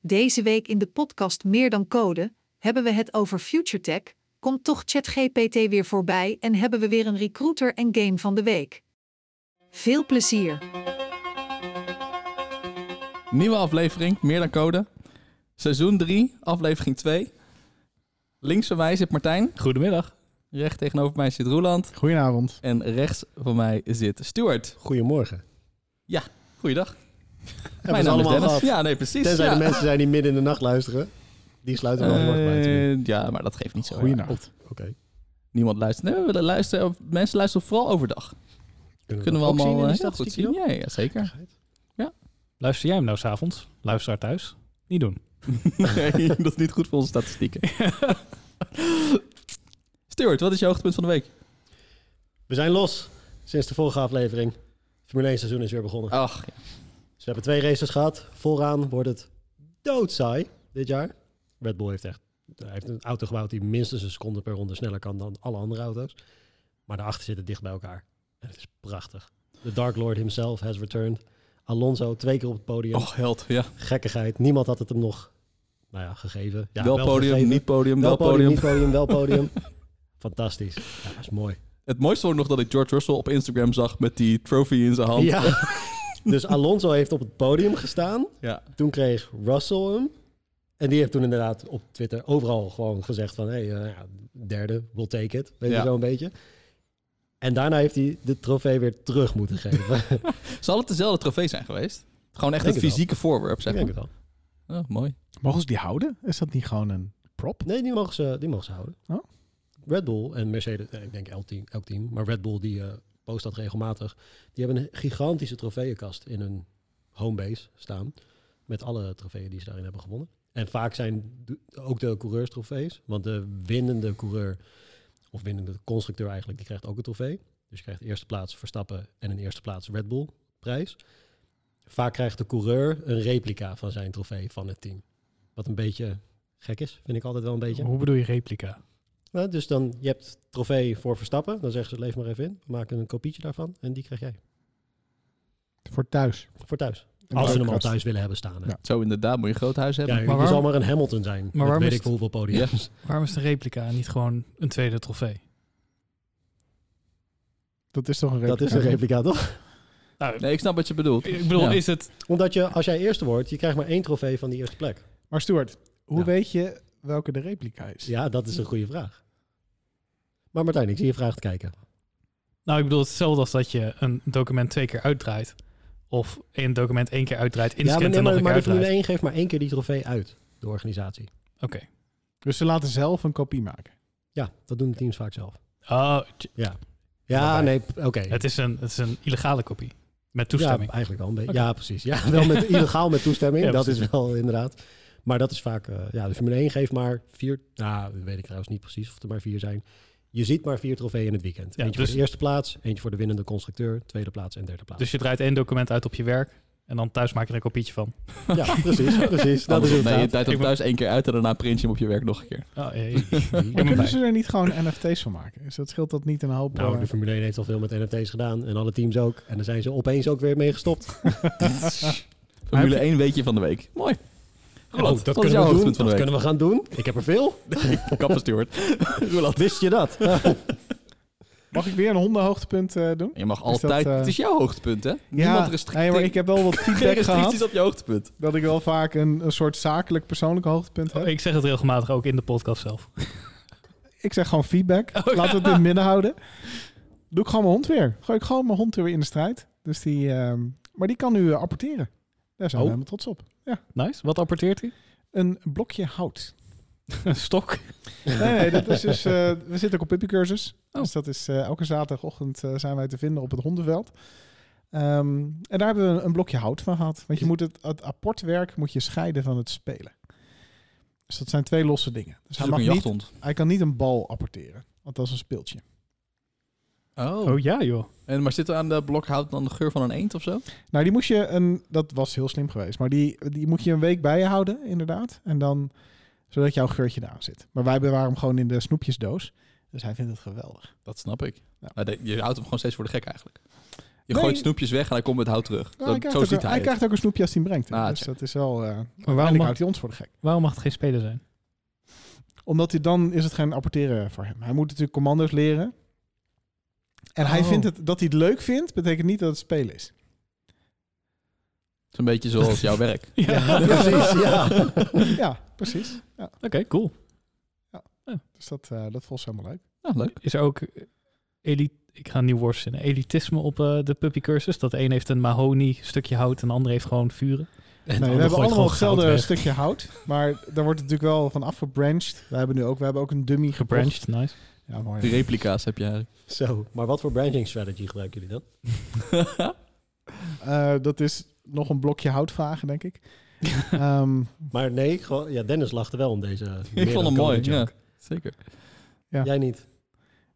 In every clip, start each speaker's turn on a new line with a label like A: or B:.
A: Deze week in de podcast Meer dan Code hebben we het over Future Tech. Komt toch ChatGPT weer voorbij en hebben we weer een recruiter en game van de week. Veel plezier!
B: Nieuwe aflevering, meer dan code. Seizoen 3, aflevering 2. Links van mij zit Martijn.
C: Goedemiddag.
B: Recht tegenover mij zit Roeland.
C: Goedenavond.
B: En rechts van mij zit Stuart.
D: Goedemorgen.
B: Goeiedag.
D: we ze allemaal gehad?
B: Ja, nee, precies.
D: Tenzij
B: ja.
D: de mensen zijn die midden in de nacht luisteren. Die sluiten wel heel erg bij natuurlijk.
B: Eh, ja, maar dat geeft niet zo.
C: Goedenacht.
D: Oké.
B: Niemand luistert. Nee, we willen luisteren. Mensen luisteren vooral overdag. Kunnen we
D: dat ook
B: allemaal
D: zien in die
B: eh, heel goed zien.
D: statistieken,
B: Ja, ja, zeker.
D: joh?
C: Luister jij hem nou s'avonds? Luisteraar thuis? Niet doen.
B: nee, dat is niet goed voor onze statistieken. Stuart, wat is je hoogtepunt van de week?
D: We zijn los sinds de vorige aflevering. Formule 1 seizoen is weer begonnen.
B: Ach,
D: Dus we hebben twee races gehad. Vooraan wordt het doodsaai dit jaar. Red Bull heeft echt hij heeft een auto gebouwd die minstens een seconde per ronde sneller kan dan alle andere auto's. Maar daarachter zitten dicht bij elkaar. En het is prachtig. De Dark Lord himself has returned. Alonso twee keer op het podium.
B: oh, held. Ja.
D: Gekkigheid. Niemand had het hem nog nou ja, gegeven. Ja,
B: wel, podium,
D: gegeven.
B: niet podium,
D: Wel
B: wel
D: podium,
B: podium.
D: niet podium, wel podium. Fantastisch. Ja, dat is mooi.
B: Het mooiste was nog dat ik George Russell op Instagram zag met die trophy in zijn hand.
D: Ja. dus Alonso heeft op het podium gestaan.
B: Ja.
D: Toen kreeg Russell hem. En die heeft toen inderdaad op Twitter overal gewoon gezegd van... hé, hey, eh, ja, derde, we'll take it. Weet
B: Ja.
D: je, zo'n beetje. En daarna heeft hij de trofee weer terug moeten geven.
B: Zal het dezelfde trofee zijn geweest? Gewoon echt
D: Denk
B: een
D: het wel.
B: fysieke voorwerp,
D: Ik
B: zeg
D: denk
B: maar.
D: het wel.
B: Oh, mooi.
E: Mogen ze die houden? Is dat niet gewoon een prop?
D: Nee, die mogen ze, die mogen ze houden.
E: Oh.
D: Red Bull en Mercedes, eh, ik denk elk team, elk team maar Red Bull die eh, post dat regelmatig. Die hebben een gigantische trofeeënkast in hun homebase staan. Met alle trofeeën die ze daarin hebben gewonnen. En vaak zijn de- ook de coureurstrofees. Want de winnende coureur, of winnende constructeur eigenlijk, die krijgt ook een trofee. Dus je krijgt eerste plaats Verstappen en in eerste plaats Red Bull prijs. Vaak krijgt de coureur een replica van zijn trofee van het team. Wat een beetje gek is, vind ik altijd wel een beetje.
C: Hoe bedoel je replica?
D: Nou, dus dan, je hebt trofee voor Verstappen. Dan zeggen ze, leef maar even in. We maken een kopietje daarvan en die krijg jij.
E: Voor thuis.
D: Voor thuis.
E: Een
D: Als ze hem al
E: kast.
D: thuis willen hebben staan. hè.
E: Ja.
B: Zo inderdaad, moet je een groot huis hebben.
D: Ja,
B: Ja,
D: je
C: waarom-
D: zal maar een Hamilton zijn. Maar
C: waarom
D: weet
C: is
D: ik veel hoeveel podiums.
C: Waarom is de replica en niet gewoon een tweede trofee?
E: Dat is toch een replica?
D: Dat is een replica, toch?
C: Nou,
B: Nee, ik snap wat je bedoelt.
C: ik bedoel,
B: Ja.
C: is het...
D: Omdat je, als jij eerste wordt, je krijgt maar één trofee van die eerste plek.
E: Maar Stuart, hoe
D: Ja.
E: weet je welke de replica is?
D: Ja, dat is een goede vraag. Maar Martijn, ik zie je vraag te kijken.
C: Nou, ik bedoel, het is hetzelfde als dat je een document twee keer uitdraait. Of een document één keer uitdraait,
D: ja,
C: inscant
D: maar, nee,
C: en nog
D: maar,
C: een keer
D: maar de Formule
C: uitdraait.
D: 1 geeft maar één keer die trofee uit. De organisatie.
C: Oké.
E: Dus ze laten zelf een kopie maken.
D: Ja, dat doen de teams vaak zelf.
C: Oh, tj-
D: Ja,
C: Waarbij-
D: nee, p- oké.
C: het, is een, het is een illegale kopie. Met
D: Ja,
C: toestemming.
D: eigenlijk wel een beetje.
C: Oké.
D: Ja, precies. Ja, wel met, illegaal met toestemming.
C: Ja,
D: dat
C: precies.
D: is wel inderdaad. Maar dat is vaak... eh, ja, de Formule 1 geeft maar vier... Nou, dat weet ik trouwens niet precies of er maar vier zijn. Je ziet maar vier trofeeën in het weekend.
C: Ja,
D: eentje
C: dus-
D: voor de eerste plaats, eentje voor de winnende constructeur, tweede plaats en derde plaats.
C: Dus je draait één document uit op je werk. En dan thuis maak je er een kopietje van.
D: ja, precies, precies. Dat is
B: Andersom, nee,
D: het.
B: je
D: inderdaad.
B: tijd hem
C: Ik ben-
B: thuis één keer uit en daarna print je hem op je werk nog een keer.
C: Oh, hey.
E: Maar
C: ben
E: kunnen
C: bij.
E: ze er niet gewoon NFT's van maken? Dus dat scheelt dat niet een hoop...
D: Nou,
E: eh,
D: de Formule 1 heeft al veel met NFT's gedaan en alle teams ook. En daar zijn ze opeens ook weer mee gestopt.
B: Formule
E: heb
B: 1 weekje van de week. Mooi.
D: Oh,
B: Roland,
D: dat
B: wat is
D: kunnen
B: jouw
D: we doen.
B: hoogtepunt van
D: Dat
B: de week?
D: kunnen we gaan doen. Ik heb er veel.
B: Kappen, Stuart.
D: Roeland, wist je dat?
E: Mag ik weer een hondenhoogtepunt eh doen?
B: Je mag
E: dat,
B: altijd...
E: eh,
B: Het is jouw hoogtepunt, hè?
E: ja,
B: Niemand restricteert.
E: nee, maar ik heb wel wat
B: Geen
E: feedback
B: restricties
E: gehad.
B: op je hoogtepunt.
E: Dat ik wel vaak een, een soort zakelijk persoonlijk hoogtepunt heb.
C: Oh, ik zeg het regelmatig ook in de podcast zelf.
E: Ik zeg gewoon feedback.
C: Oh,
E: Laten we het in het midden houden. Doe ik gewoon mijn hond weer. Gooi ik gewoon mijn hond er weer in de strijd. Dus die, ehm, maar die kan nu eh, apporteren. Daar zijn we
D: Oh.
E: helemaal trots op.
C: Nice. Wat apporteert hij?
E: Een blokje hout.
C: Een stok.
E: Nee, nee dat is dus, eh, we zitten ook op puppycursus.
C: Oh.
E: Dus dat is eh, elke zaterdagochtend eh, zijn wij te vinden op het hondenveld. Ehm, en daar hebben we een, een blokje hout van gehad. Want je moet het, het apportwerk moet je scheiden van het spelen. Dus dat zijn twee losse dingen.
B: Het
E: Dus hij,
B: is ook
E: mag
B: een
E: niet,
B: jachthond.
E: hij kan niet een bal apporteren. Want dat is een speeltje.
C: Oh ja, joh.
B: En, maar zit er aan de blokhout dan de geur van een eend of zo?
E: Nou, die moest je een. Dat was heel slim geweest. Maar die, die moet je een week bij je houden, inderdaad. En dan. Zodat jouw geurtje eraan zit. Maar wij bewaren hem gewoon in de snoepjesdoos. Dus hij vindt het geweldig.
B: Dat snap ik.
E: Ja.
B: Nou, de- je houdt hem gewoon steeds voor de gek eigenlijk. Je
E: Nee.
B: gooit snoepjes weg en hij komt met hout terug.
E: Ja,
B: Dat-
E: Nou, hij krijgt,
B: zo
E: ook,
B: ziet
E: een-
B: hij,
E: hij
B: het.
E: krijgt ook een snoepje als hij hem brengt. hè.
B: Ah,
E: dus
B: check.
E: dat is wel... eh
C: waarom
E: uiteindelijk
C: mag-
E: houdt hij ons voor de gek.
C: Waarom mag het geen speler zijn?
E: Omdat hij dan is het geen apporteren voor hem. Hij moet natuurlijk commando's leren. En hij
C: Oh.
E: vindt het, dat hij het leuk vindt, betekent niet dat het spelen is.
B: Het is een beetje zoals jouw werk.
C: Ja,
D: precies, ja.
E: Ja, precies.
C: Oké, cool.
E: Dus dat, eh dat voelt helemaal leuk.
B: Nou, leuk.
C: Is er ook eh, elit ik ga een nieuw woord verzinnen, elitisme op eh, de puppycursus? Dat de een heeft een mahoni stukje hout en de ander heeft gewoon vuren.
D: En
E: Nee,
D: dan
E: we hebben
D: gooit
E: allemaal
D: gewoon
E: hetzelfde
D: goud weg.
E: stukje hout. Maar daar wordt natuurlijk wel van afgebranched. We hebben nu ook, we hebben ook een dummy gebranched.
C: Gebranched, nice.
E: Ja, mooi.
B: Die replica's heb je eigenlijk.
D: Zo, maar wat voor branding strategy gebruiken jullie dan?
E: Eh, dat is nog een blokje hout vragen, denk ik. Ehm,
D: Maar nee, gewoon, ja, Dennis lachte wel om deze.
B: Ik
D: meer
B: vond
D: dan
B: hem mooi,
D: code
B: ja.
D: joke.
B: Zeker.
E: Ja.
D: Jij niet.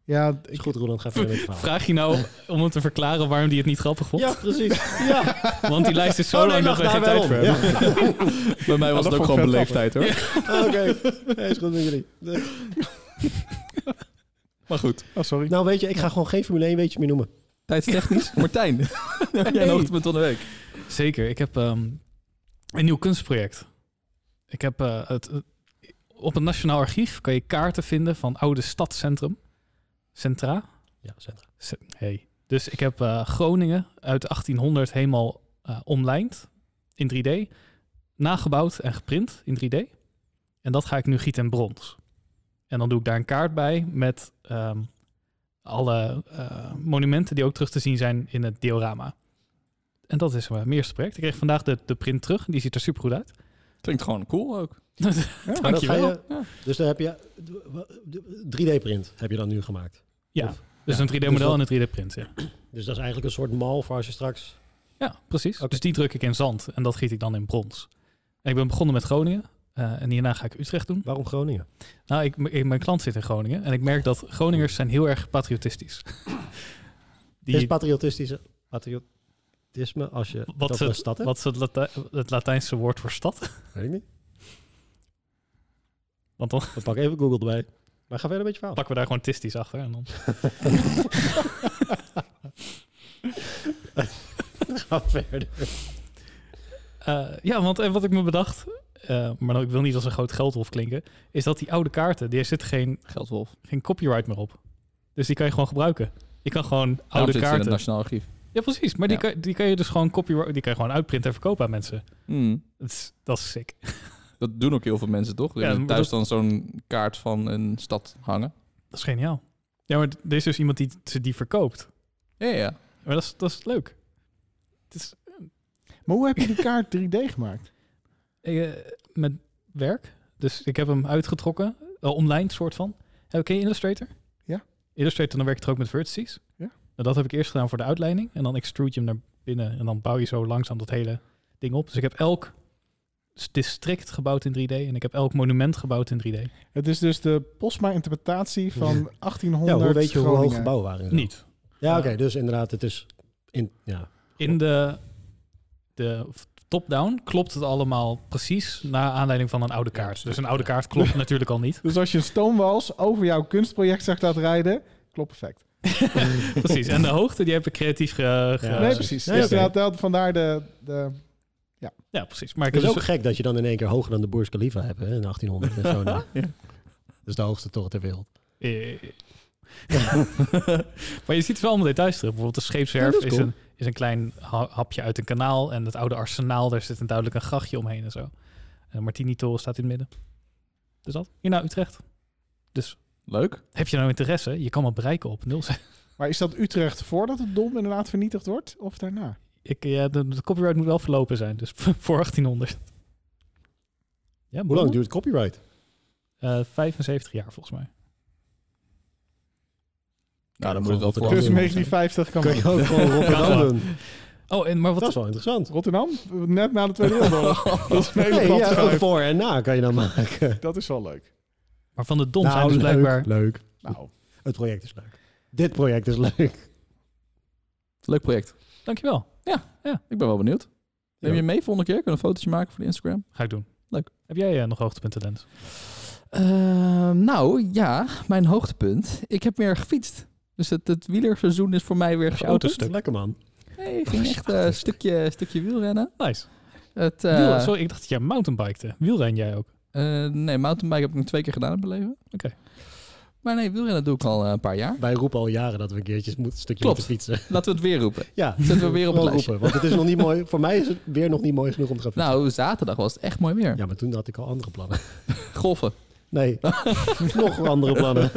E: ja,
D: Is
E: ik,
D: goed, Roland, ga verder met het verhaal.
C: Vraag je nou om hem te verklaren waarom hij het niet grappig vond?
D: Ja, precies. Ja.
C: Want die lijst is zo
D: Oh, nee,
C: lang dat
D: lach
C: wij
D: daar
C: geen tijd
D: wel
C: voor
D: om.
C: hebben.
B: Bij mij
E: Ja,
B: was
E: dat
B: het ook
E: vond ik
B: gewoon
E: wel
B: beleefdheid hoor.
D: Oké, Nee, is goed met jullie.
B: Maar goed,
E: oh, sorry.
D: Nou, weet je, ik ga gewoon geen Formule 1 weetje meer noemen.
B: tijdstechnisch. Martijn, heb jij een
C: Hey.
B: hoogtepunt van de week?
C: Zeker. Ik heb ehm, een nieuw kunstproject. Ik heb eh, het, het- op het Nationaal Archief kan je kaarten vinden van oude stadscentrum. Centra.
D: Ja, Sandra.
C: Ce- Hey. Dus ik heb eh, Groningen uit 1800 helemaal eh, omlijnd in 3D, nagebouwd en geprint in 3D. En dat ga ik nu gieten in brons. En dan doe ik daar een kaart bij met ehm, alle eh, monumenten die ook terug te zien zijn in het diorama. En dat is eh, mijn eerste project. Ik kreeg vandaag de, de print terug. Die ziet er supergoed uit.
B: Klinkt gewoon cool ook.
D: Maar dat ga
C: Dankjewel.
D: je- Dus dan heb je 3D-print heb je dan nu gemaakt.
C: Ja,
D: Of-
C: dus
D: ja,
C: een 3D-model en een 3D-print. Ja.
D: Dus dat is eigenlijk een soort mal voor als je straks...
C: Ja, precies.
D: Oké.
C: Dus die druk ik in zand en dat giet ik dan in brons. En ik ben begonnen met Groningen eh, en hierna ga ik Utrecht doen.
D: Waarom Groningen?
C: Nou, ik, ik- mijn klant zit in Groningen en ik merk dat Groningers zijn heel erg patriotistisch.
D: Is
C: Die,
D: patriotistische patriotisme als je
C: Wat
D: dat
C: ze-
D: een stad hebt?
C: wat is het, Latijn- het Latijnse woord voor stad?
D: Weet ik niet.
C: Want dan
D: We pakken even Google erbij. Maar ga verder een beetje verhaal.
C: pakken we daar gewoon tistisch achter. En dan...
D: Ga verder.
C: Eh, ja, want en wat ik me bedacht, eh, maar dan- ik wil niet als een groot geldwolf klinken, is dat die oude kaarten, daar zit geen,
B: Geldwolf.
C: geen copyright meer op. Dus die kan je gewoon gebruiken. Je kan gewoon
B: Daarom zit
C: oude
B: ze in het
C: kaarten.
B: Nationaal Archief.
C: Ja, precies. Maar Die,
B: Ja.
C: kan, die kan je dus gewoon copyright, die kan je gewoon uitprinten en verkopen aan mensen.
B: Hmm.
C: Dat is, dat is sick.
B: Dat doen ook heel veel mensen, toch? Die
C: Ja,
B: hebben
C: maar
B: thuis dan zo'n kaart van een stad hangen.
C: Dat is geniaal. Ja, maar d- er is dus iemand die ze die verkoopt.
B: Ja, ja, ja.
C: Maar dat is, dat is leuk. Het is,
E: Maar hoe heb je die kaart 3D gemaakt?
C: eh, met werk. Dus ik heb hem uitgetrokken. eh, online soort van. Heb ik Illustrator?
E: Ja.
C: Illustrator, dan werk ik er ook met vertices.
E: Ja.
C: Nou, dat heb ik eerst gedaan voor de uitleiding. En dan extrude je hem naar binnen. En dan bouw je zo langzaam dat hele ding op. Dus ik heb elk s- district gebouwd in 3D. En ik heb elk monument gebouwd in 3D.
E: Het is dus de Postma-interpretatie van
D: Ja.
E: 1800
D: Ja, hoe weet je hoe hoog
E: Groningen.
D: gebouwen waren?
C: Niet.
D: Ja, oké. dus inderdaad, het is... In, ja,
C: In de, de top-down klopt het allemaal precies naar aanleiding van een oude kaart. Dus een oude kaart klopt natuurlijk al niet.
E: Dus als je een stoomwals over jouw kunstproject zag laten rijden, klopt perfect.
C: Precies. En de hoogte die heb ik creatief ge... ge-
E: nee,
D: Ja. precies.
E: precies.
D: Nee,
E: dus
D: oké.
E: inderdaad, dat- vandaar de... de
C: Ja, precies. Maar ik
D: Het is
C: heb
D: ook
C: dus-
D: gek dat je dan in één keer hoger dan de Burj Khalifa hebt hè, in 1800 en zo. nou. Dat is de hoogste toren ter wereld.
C: Eh. maar je ziet dus wel allemaal details terug. Bijvoorbeeld de scheepswerf
D: Ja, dat is
C: is,
D: cool.
C: een, is een klein ha- hapje uit een kanaal. En het oude arsenaal, daar zit een duidelijk een grachtje omheen en zo. En de Martini-toren staat in het midden. Dus dat. Hier naar Utrecht.
B: Leuk.
C: Heb je nou interesse? Je kan me bereiken op 06.
E: maar is dat Utrecht voordat het dom inderdaad vernietigd wordt? Of daarna?
C: Ik, eh, ja, de, de copyright moet wel verlopen zijn, dus voor 1800. Ja,
D: Hoe lang duurt copyright?
C: Eh, 75 jaar volgens mij.
B: Nou, dan moet het wel voor.
D: Rotterdam.
E: Dus
D: Rotterdam.
E: 1950 kan
D: Kun
E: wel.
D: je ook gewoon Rotterdam
C: wel.
D: doen.
C: Oh, en maar
D: Dat is
C: wat
D: wel interessant.
E: Rotterdam, net na de Tweede Wereldoorlog. dat is een hele
D: Nee,
E: plat
D: ja,
E: schijf.
D: voor en na kan je dan maken.
E: Dat is wel leuk.
C: maar van de dom zijn
D: Nou,
C: dus
D: leuk,
C: blijkbaar...
D: leuk.
E: Nou,
D: Het project is leuk. Dit project is leuk.
B: Leuk project.
C: Dankjewel.
B: Ik ben wel benieuwd. Neem
D: Ja.
B: je mee volgende keer? Kunnen we een fotootje maken voor de Instagram?
C: Ga ik doen.
B: Leuk.
C: Heb jij eh, nog hoogtepunten, Lens?
B: Ehm, nou ja, mijn hoogtepunt. Ik heb weer gefietst. Dus het, het wielerseizoen is voor mij weer
C: je
B: geopend.
C: auto's Stuk.
D: Lekker man.
B: Nee, ik ging echt eh, een stukje, stukje wielrennen.
C: Nice.
B: Het, eh,
C: Wiel- sorry, ik dacht dat jij mountainbikte. Wielren jij ook?
B: eh, nee, mountainbike heb ik nog twee keer gedaan in mijn leven.
C: Oké.
B: Maar nee, wielrennen doe ik al eh, een paar jaar.
D: Wij roepen al jaren dat we een keertje moeten, een stukje
B: Klopt.
D: moeten fietsen.
B: Laten we het weer roepen.
D: Ja,
B: Zetten we weer op het
D: wel
B: lijstje.
D: roepen. Want het is nog niet mooi. Voor mij is het weer nog niet mooi genoeg om te gaan fietsen.
B: Nou, zaterdag was het echt mooi weer.
D: Ja, maar toen had ik al andere plannen.
B: Golfen.
D: Nee, nog andere plannen.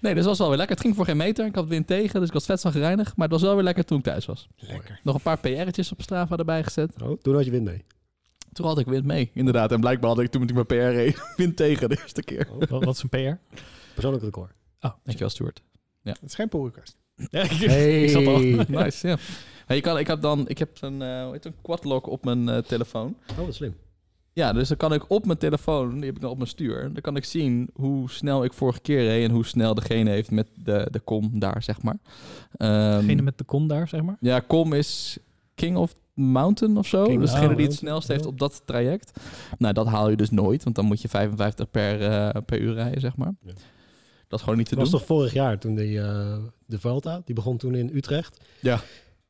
B: Nee, dus dat was wel weer lekker. Het ging voor geen meter. Ik had wind tegen, dus ik was vet van gereinigd. Maar het was wel weer lekker toen ik thuis was.
E: Lekker.
B: Nog een paar PR'tjes op Strava erbij gezet.
D: Oh, toen had je wind mee.
B: Toen had ik wind mee, inderdaad. En blijkbaar had ik toen ik mijn PR reed, wind tegen de eerste keer.
C: Wat, wat is een Oh, PR?
D: Persoonlijk record.
B: Dankjewel, Stuart.
E: Het is geen pull request.
C: Ja, ik-
D: Hey.
C: ik zat al.
B: Nice, ja. Nee, je kan, ik heb dan, ik heb zo'n, eh, hoe heet het, een quadlock op mijn eh, telefoon.
D: Oh, wat slim.
B: Ja, dus dan kan ik op mijn telefoon, die heb ik dan op mijn stuur, dan kan ik zien hoe snel ik vorige keer reed en hoe snel degene heeft met de, de kom daar, zeg maar. Ehm,
C: Degene met de kon daar, zeg maar.
B: Ja, Kom is King of Mountain of zo.
D: King
B: dus
D: of
B: degene die het
D: Mountain.
B: snelst heeft op dat traject. Nou, dat haal je dus nooit, want dan moet je 55 per, eh, per uur rijden, zeg maar.
D: Ja.
B: Dat is gewoon niet te
D: Het was
B: doen.
D: toch vorig jaar toen die, eh, de Vuelta, die begon toen in Utrecht.
B: Ja.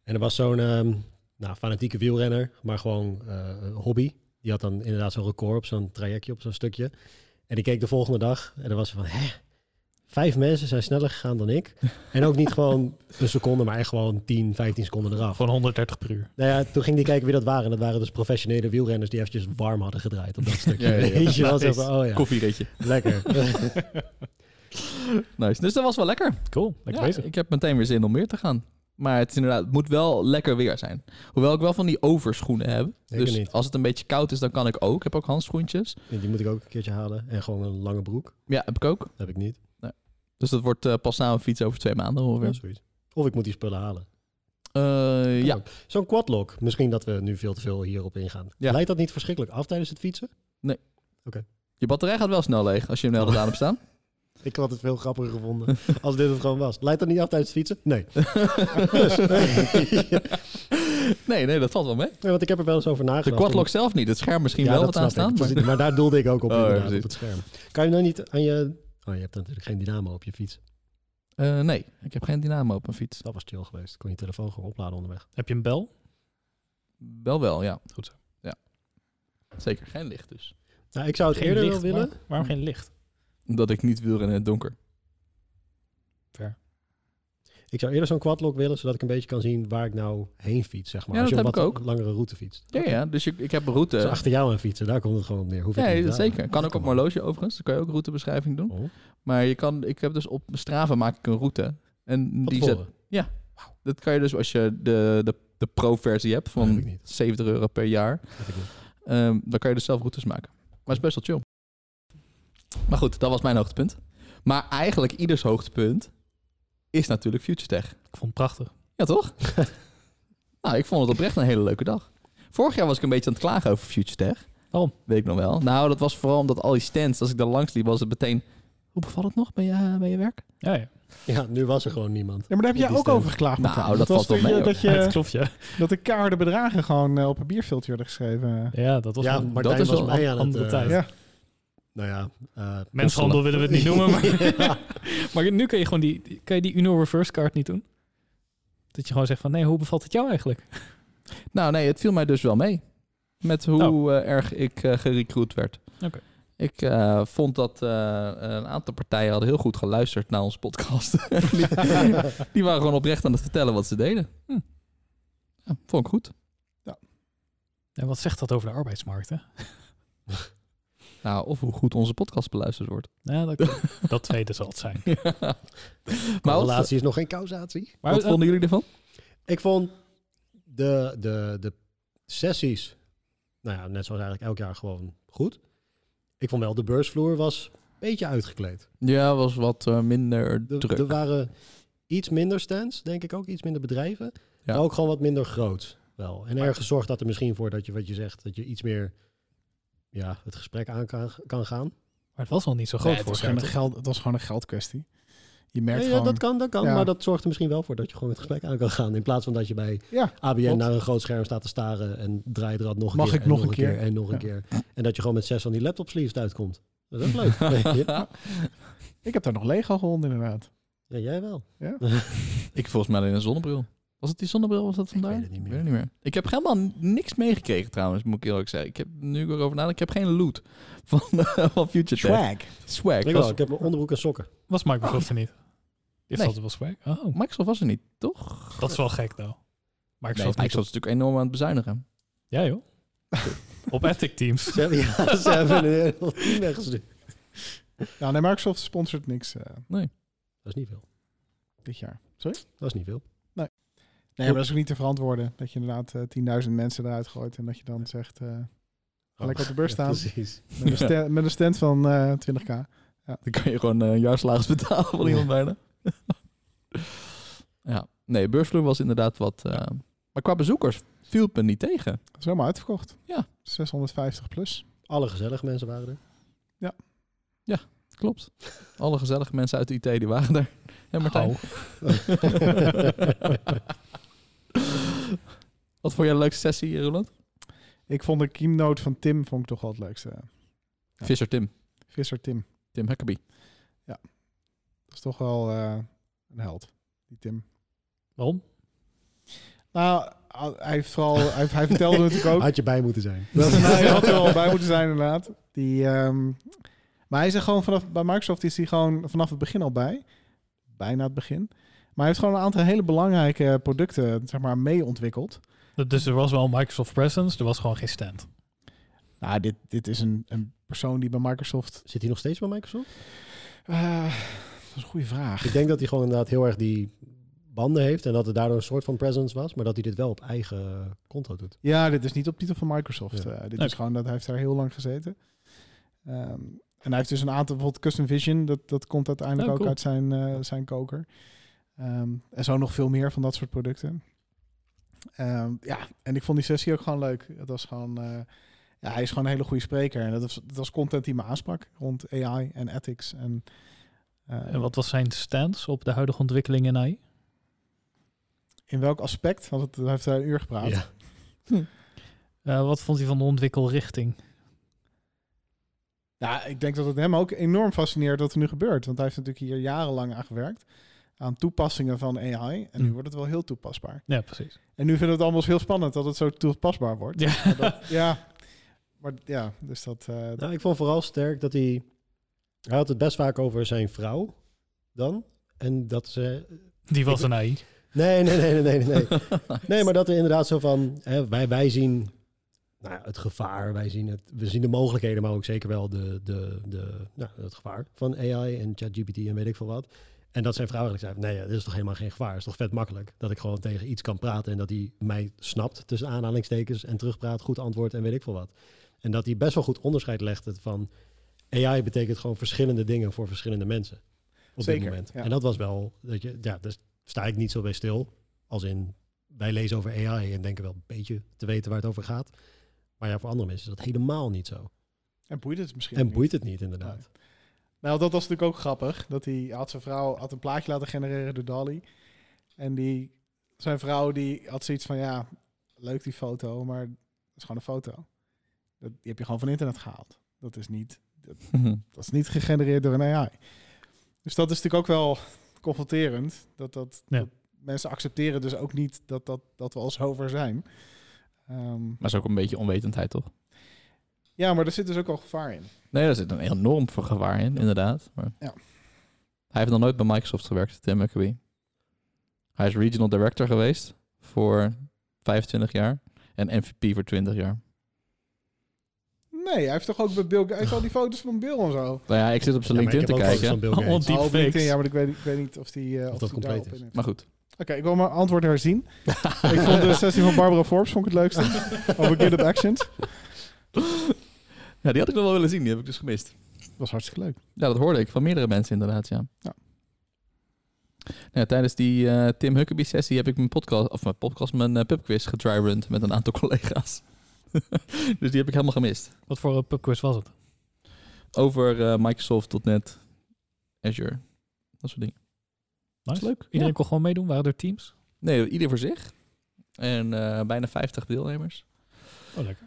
D: En er was zo'n ehm, nou, fanatieke wielrenner, maar gewoon eh, hobby. Die had dan inderdaad zo'n record op zo'n trajectje, op zo'n stukje. En die keek de volgende dag en dan was hij van, hè? Vijf mensen zijn sneller gegaan dan ik. En ook niet gewoon een seconde, maar echt gewoon 10, 15 seconden eraf.
C: Gewoon 130 per uur.
D: Nou ja, toen ging die kijken wie dat waren. En dat waren dus professionele wielrenners die eventjes warm hadden gedraaid op dat stukje.
B: Ja, ja, ja.
D: Weet je wel, zo
C: Nice.
D: van, oh ja,
B: Koffieritje.
D: lekker.
B: Nice. Dus dat was wel lekker.
C: Cool, lekker
B: Ja,
C: bezig.
B: ik heb meteen weer zin om meer te gaan. Maar het, is inderdaad, het moet wel lekker weer zijn. Hoewel ik wel van die overschoenen heb.
D: Zeker
B: dus
D: niet.
B: als het een beetje koud is, dan kan ik ook. Ik heb ook handschoentjes.
D: En die moet ik ook een keertje halen. En gewoon een lange broek.
B: Ja, heb ik ook.
D: Heb ik niet.
B: Dus dat wordt eh, pas na een fiets over twee maanden
D: Ja,
B: ongeveer.
D: zoiets. Of ik moet die spullen halen.
B: Eh, ja,
D: ook. Zo'n quadlock. Misschien dat we nu veel te veel hierop ingaan.
B: Ja.
D: Leidt dat niet verschrikkelijk af tijdens het fietsen?
B: je batterij gaat wel snel leeg als je hem de hele dag aan hebt staan.
D: Ik had het veel grappiger gevonden als dit het gewoon was. Leidt dat niet af tijdens het fietsen? Nee. Dus.
B: Nee, nee, dat valt wel mee.
D: Nee, want ik heb er wel eens over
B: De
D: nagedacht.
B: quadlock zelf niet. Het scherm misschien
D: Ja,
B: wel
D: dat
B: wat aan
D: snap
B: staan.
D: ik.
B: Maar...
D: Precies, maar daar doelde ik ook op
B: Oh,
D: inderdaad,
B: precies.
D: op het scherm. Kan je nou niet aan je... Oh, je hebt natuurlijk geen dynamo op je fiets.
B: Eh, nee, ik heb geen dynamo op mijn fiets.
D: Dat was chill geweest. Kon je telefoon gewoon opladen onderweg.
C: Heb je een bel?
B: Wel wel, ja.
C: Goed zo.
B: Ja. Zeker, geen licht dus.
D: Nou, ik zou het eerder wel willen.
C: waar- waarom geen licht?
B: Omdat ik niet wil in het donker.
D: Ik zou eerder zo'n quadlock willen, zodat ik een beetje kan zien waar ik nou heen fiets, zeg maar.
B: Ja,
D: Als je
B: dat
D: een
B: heb
D: wat
B: ik ook.
D: langere route fietst.
B: Ja, ja, dus je, ik heb een
D: Dus
B: route.
D: achter jou aan fietsen, daar komt het gewoon op neer. Hoef ik
B: Nee,
D: niet
B: dat
D: te halen.
B: zeker. Kan ook op mijn horloge overigens. Dan kan je ook routebeschrijving doen.
D: Oh,
B: Maar je kan, ik heb dus op Strava maak ik een route. En
D: van
B: die
D: tevoren.
B: zet, dat kan je dus als je de, de, de pro-versie hebt
D: Dat heb ik
B: van
D: niet.
B: 70 euro per jaar.
D: Heb ik niet.
B: ehm, dan kan je dus zelf routes maken. Maar het is best wel chill. Maar goed, dat was mijn hoogtepunt. Maar eigenlijk ieders hoogtepunt is natuurlijk Future Tech.
C: Ik vond het prachtig.
B: Ja, toch? nou, ik vond het oprecht een hele leuke dag. Vorig jaar was ik een beetje aan het klagen over Future Tech.
C: Waarom?
B: Weet ik nog wel. Nou, dat was vooral omdat al die stands, als ik daar langs liep, was het meteen... Hoe bevalt het nog bij je, bij je werk?
C: Ja, ja.
D: Ja, nu was er gewoon niemand.
E: Ja, maar daar heb
D: Op
E: jij
D: die
E: ook
D: stand.
E: over geklaagd.
B: Nou,
E: Martijn.
B: dat
E: was
B: valt wel
E: toen
B: mee,
E: je- Dat,
C: Ja, dat
E: je,
C: klopt, ja.
E: dat de keiharde bedragen gewoon eh, op een bierveeltje werden geschreven.
C: Ja, dat was
D: ja,
C: een-
D: maar
B: dat is
D: was
B: wel
D: mij
C: een
D: aan
C: andere
D: het, eh,
C: tijd.
E: Ja.
D: Nou ja. eh,
C: Menshandel willen we het niet noemen, maar...
D: Ja.
C: Maar nu kun je gewoon die, die- kan je die Uno reverse card niet doen. Dat je gewoon zegt van, nee, hoe bevalt het jou eigenlijk?
B: Nou nee, het viel mij dus wel mee. Met hoe eh, erg ik eh gerecruit werd.
C: Oh. Oké.
B: Ik eh, vond dat eh, een aantal partijen hadden heel goed geluisterd naar onze podcast. die, die waren gewoon oprecht aan het vertellen wat ze deden.
C: Hm.
B: Ja, vond ik goed.
C: En wat zegt dat over de arbeidsmarkt, hè?
B: Nou, of hoe goed onze podcast beluisterd wordt.
C: Nou, dat, dat tweede zal het zijn.
B: Maar wat,
D: Correlatie is nog geen causatie.
C: Maar
B: wat
C: eh,
B: vonden jullie ervan?
D: Ik vond de, de, de sessies, nou ja, net zoals eigenlijk elk jaar gewoon goed. Ik vond wel, de beursvloer was een beetje uitgekleed.
B: Ja, was wat eh, minder
D: De-
B: druk.
D: Er waren iets minder stands, denk ik ook, iets minder bedrijven.
B: Ja.
D: Maar ook gewoon wat minder groot wel. En ergens zorgt dat er misschien voor dat je wat je zegt, dat je iets meer ja, het gesprek aan kan, kan gaan.
C: maar het was wel niet zo
E: Nee,
C: groot
E: het,
C: voor
E: was
C: hem.
E: gewoon een geld, het was gewoon een geldkwestie. Je merkt
D: Ja, ja,
E: gewoon...
D: dat kan, dat kan.
E: Ja.
D: Maar dat zorgt er misschien wel voor dat je gewoon het gesprek aan kan gaan. In plaats van dat je bij
E: Ja,
D: ABN
E: klopt.
D: naar een groot scherm staat te staren en draai er nog een
E: Mag
D: keer.
E: ik
D: en
E: nog een keer?
D: En nog een
E: Ja.
D: keer. En dat je gewoon met zes van die laptop sleeves uitkomt. Dat is ook leuk. Weet je?
E: Ik heb daar nog Lego gevonden inderdaad.
D: ja, jij wel.
B: ik volgens mij alleen een zonnebril. Was het die zonnebril? Was dat vandaag?
D: weet het niet meer.
B: Ik, heb helemaal n- niks meegekregen trouwens, moet ik eerlijk zeggen. Ik heb nu ik erover nadenk, ik heb geen loot van, eh, van Future Tech.
E: Swag.
B: Swag.
D: Ik, wel,
B: Was,
D: ik heb mijn onderbroek en sokken.
C: Was Microsoft er niet? Dit
B: Nee.
C: zat er wel swag. Oh,
B: Microsoft was er niet, toch?
C: dat is wel gek nou.
B: Nee,
C: Microsoft,
B: Microsoft is natuurlijk enorm aan het bezuinigen.
C: Ja joh. Op Epic Teams.
D: Ze hebben, ja, ze hebben een heel team weggestuurd.
E: Nou, nee, Microsoft sponsort niks eh,
D: Dat is niet veel.
E: dit jaar. Sorry?
D: Dat is niet veel.
E: Nee, maar dat is ook niet te verantwoorden. Dat je inderdaad eh, 10.000 mensen eruit gooit en dat je dan zegt... eh, Ga lekker op de beurs
D: Ja,
E: staan.
D: precies.
E: met, een stand, met een stand van eh, 20k.
B: Dan kan je gewoon eh, een jaar salaris betalen van iemand bijna. ja, nee, beursvloer was inderdaad wat... eh, maar qua bezoekers viel het me niet tegen.
E: Dat is helemaal uitverkocht.
B: Ja.
E: 650 plus.
D: Alle gezellige mensen waren er.
B: Klopt. Alle gezellige mensen uit de IT die waren er. En Martijn.
C: Oh.
B: Wat vond jij de leukste sessie, Roland?
E: Ik vond de keynote van Tim vond ik toch wel het leukste. Ja.
B: Visser Tim.
E: Visser Tim.
B: Tim Huckabee.
E: Dat is toch wel eh, een held, die Tim.
C: Waarom?
E: Nou, ah, hij, heeft vooral, hij, hij vertelde natuurlijk ook...
D: Had je bij moeten zijn.
E: Dat nou, je had er wel bij moeten zijn inderdaad. Die, ehm, maar hij is er gewoon vanaf... Bij Microsoft is hij gewoon vanaf het begin al bij. Bijna het begin. Maar hij heeft gewoon een aantal hele belangrijke producten zeg maar, mee ontwikkeld.
C: Dus er was wel een Microsoft presence, er was gewoon geen stand.
E: Nou, dit, dit is een, een persoon die bij Microsoft...
D: Zit hij nog steeds bij Microsoft?
E: Eh, dat is een goede vraag.
D: Ik denk dat hij gewoon inderdaad heel erg die banden heeft en dat het daardoor een soort van presence was, maar dat hij dit wel op eigen konto doet.
E: Ja, dit is niet op titel van Microsoft.
D: Ja.
E: Eh, dit
C: Oké.
E: is gewoon dat hij heeft daar heel lang gezeten. Ehm, en hij heeft dus een aantal, bijvoorbeeld Custom Vision, dat, dat komt uiteindelijk
C: Oh,
E: ook
C: cool.
E: uit zijn, eh, zijn koker. Ehm, en zo nog veel meer van dat soort producten. Ehm, ja, en ik vond die sessie ook gewoon leuk. Het was gewoon, eh, ja, hij is gewoon een hele goede spreker. En dat was, dat was content die me aansprak rond AI en ethics. En, eh,
C: En wat was zijn stance op de huidige ontwikkeling in AI?
E: In welk aspect? Want het, hij heeft daar een uur gepraat.
D: Ja.
C: Eh, wat vond hij van de ontwikkelrichting?
E: Ja, ik denk dat het hem ook enorm fascineert wat er nu gebeurt. Want hij heeft natuurlijk hier jarenlang aan gewerkt. Aan toepassingen van AI. En nu
C: Mm.
E: wordt het wel heel toepasbaar.
C: Ja, precies.
E: En nu vinden we het allemaal heel spannend dat het zo toepasbaar wordt.
C: Ja.
E: Maar dat- ja. Maar ja, dus dat... eh,
D: Nou, ik vond vooral sterk dat hij... Hij had het best vaak over zijn vrouw dan. En dat ze...
C: Die was een AI.
D: Nee, nee, nee, nee, nee, nee, nee. Nee, maar dat er inderdaad zo van... Hè, wij, wij zien nou, ja, het gevaar, wij zien het, we zien de mogelijkheden, maar ook zeker wel de, de, de, nou, het gevaar van AI en ChatGPT en weet ik veel wat. En dat zijn vrouwen eigenlijk zei, nee, ja, dit is toch helemaal geen gevaar. Het is toch vet makkelijk dat ik gewoon tegen iets kan praten en dat hij mij snapt tussen aanhalingstekens en terugpraat, goed antwoord en weet ik veel wat. En dat hij best wel goed onderscheid legt het van AI betekent gewoon verschillende dingen voor verschillende mensen. Op
E: Zeker,
D: dit moment.
E: ja.
D: En dat was wel, dat je, ja, daar sta ik niet zo bij stil. Als in, wij lezen over AI en denken wel een beetje te weten waar het over gaat. Maar ja, voor andere mensen is dat helemaal niet zo.
E: en boeit het misschien
D: En
E: niet.
D: boeit het niet, inderdaad.
E: Nou, dat was natuurlijk ook grappig. Dat hij had zijn vrouw had een plaatje laten genereren door Dali. En die, zijn vrouw die had zoiets van, ja, leuk die foto, maar het is gewoon een foto. Dat, die heb je gewoon van internet gehaald. Dat is niet, dat is niet gegenereerd door een AI. Dus dat is natuurlijk ook wel confronterend. Dat, dat,
C: Ja.
E: dat mensen accepteren dus ook niet dat, dat, dat we al zover zijn. Ehm,
B: Maar is ook een beetje onwetendheid, toch?
E: ja, maar er zit dus ook al gevaar in.
B: Nee, daar zit een enorm voor gevaar in, inderdaad. Maar...
E: Ja.
B: Hij heeft nog nooit bij Microsoft gewerkt, Tim McAbee. Hij is regional director geweest voor 25 jaar en MVP voor 20 jaar.
E: Nee, hij heeft toch ook bij Bill Gates hij heeft al die foto's van Bill en zo.
B: Nou ja, ik zit op zijn
D: Ja, maar ik
B: LinkedIn te
D: heb ook foto's
B: kijken.
D: van Bill Gates.
B: Oh,
E: Oh, op LinkedIn,
B: deepfakes.
E: ja, maar ik weet, ik weet niet of die, eh, of
D: dat
E: die
D: compleet
E: daarop
D: is.
E: in heeft.
B: Maar goed.
E: Oké, ik wil mijn antwoord herzien. ik vond de sessie van Barbara Forbes vond ik het leukste. Over GitHub Actions.
B: Ja, die had ik nog wel willen zien, die heb ik dus gemist.
E: was hartstikke leuk.
B: Ja, dat hoorde ik van meerdere mensen inderdaad, ja.
E: Ja.
B: Nou, tijdens die eh, Tim Huckabee-sessie heb ik mijn podcast, of mijn podcast, mijn eh, pubquiz gedryrund met een aantal collega's. dus die heb ik helemaal gemist.
C: Wat voor een pubquiz was het?
B: Over eh, Microsoft, .NET, Azure, dat soort dingen.
C: Nice.
B: leuk.
C: Iedereen
B: Ja.
C: kon gewoon meedoen, waren er teams?
B: Nee, ieder voor zich. En eh, bijna 50 deelnemers.
C: Oh, lekker.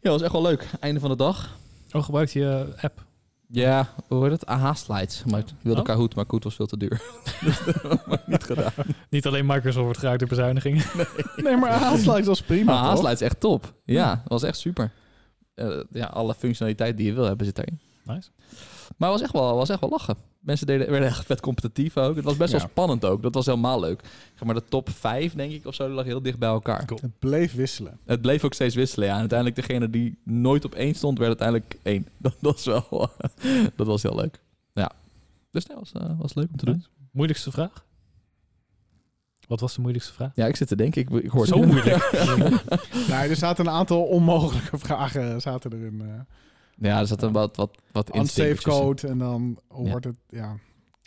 B: Ja, was echt wel leuk. Einde van de dag.
C: Oh, gebruikte je eh, app?
B: Ja, hoe heet het? AH-slides. Maar ik wilde
C: Oh.
B: Kahoot, maar Kahoot was veel te duur. dus dat heb ik niet gedaan.
C: Niet alleen Microsoft wordt geraakt door bezuinigingen.
E: Nee, maar aansluit was prima.
B: Maar
E: toch?
B: AH-slides is echt top. Ja, was echt super. Eh, ja, alle functionaliteit die je wil hebben zit erin.
C: Nice.
B: Maar het was echt wel, was echt wel lachen. Mensen deden, werden echt vet competitief ook. Het was best
E: Ja.
B: wel spannend ook. Dat was helemaal leuk. Zeg maar de top 5, denk ik, of zo, lag heel dicht bij elkaar.
E: Het bleef wisselen.
B: Het bleef ook steeds wisselen, ja. En uiteindelijk degene die nooit op één stond, werd uiteindelijk één. Dat was wel... dat was heel leuk. Ja. Dus dat was, eh, was leuk om te doen.
C: Moeilijkste vraag? Wat was de moeilijkste vraag?
B: Ja, ik zit te denken. Ik, ik hoor
C: Zo moeilijk.
E: nou, er zaten een aantal onmogelijke vragen zaten erin. eh
B: Ja, er zat een wat, wat, wat
E: unsafe
B: instinctjes in.
E: code en dan
B: Ja.
E: wordt het... Ja,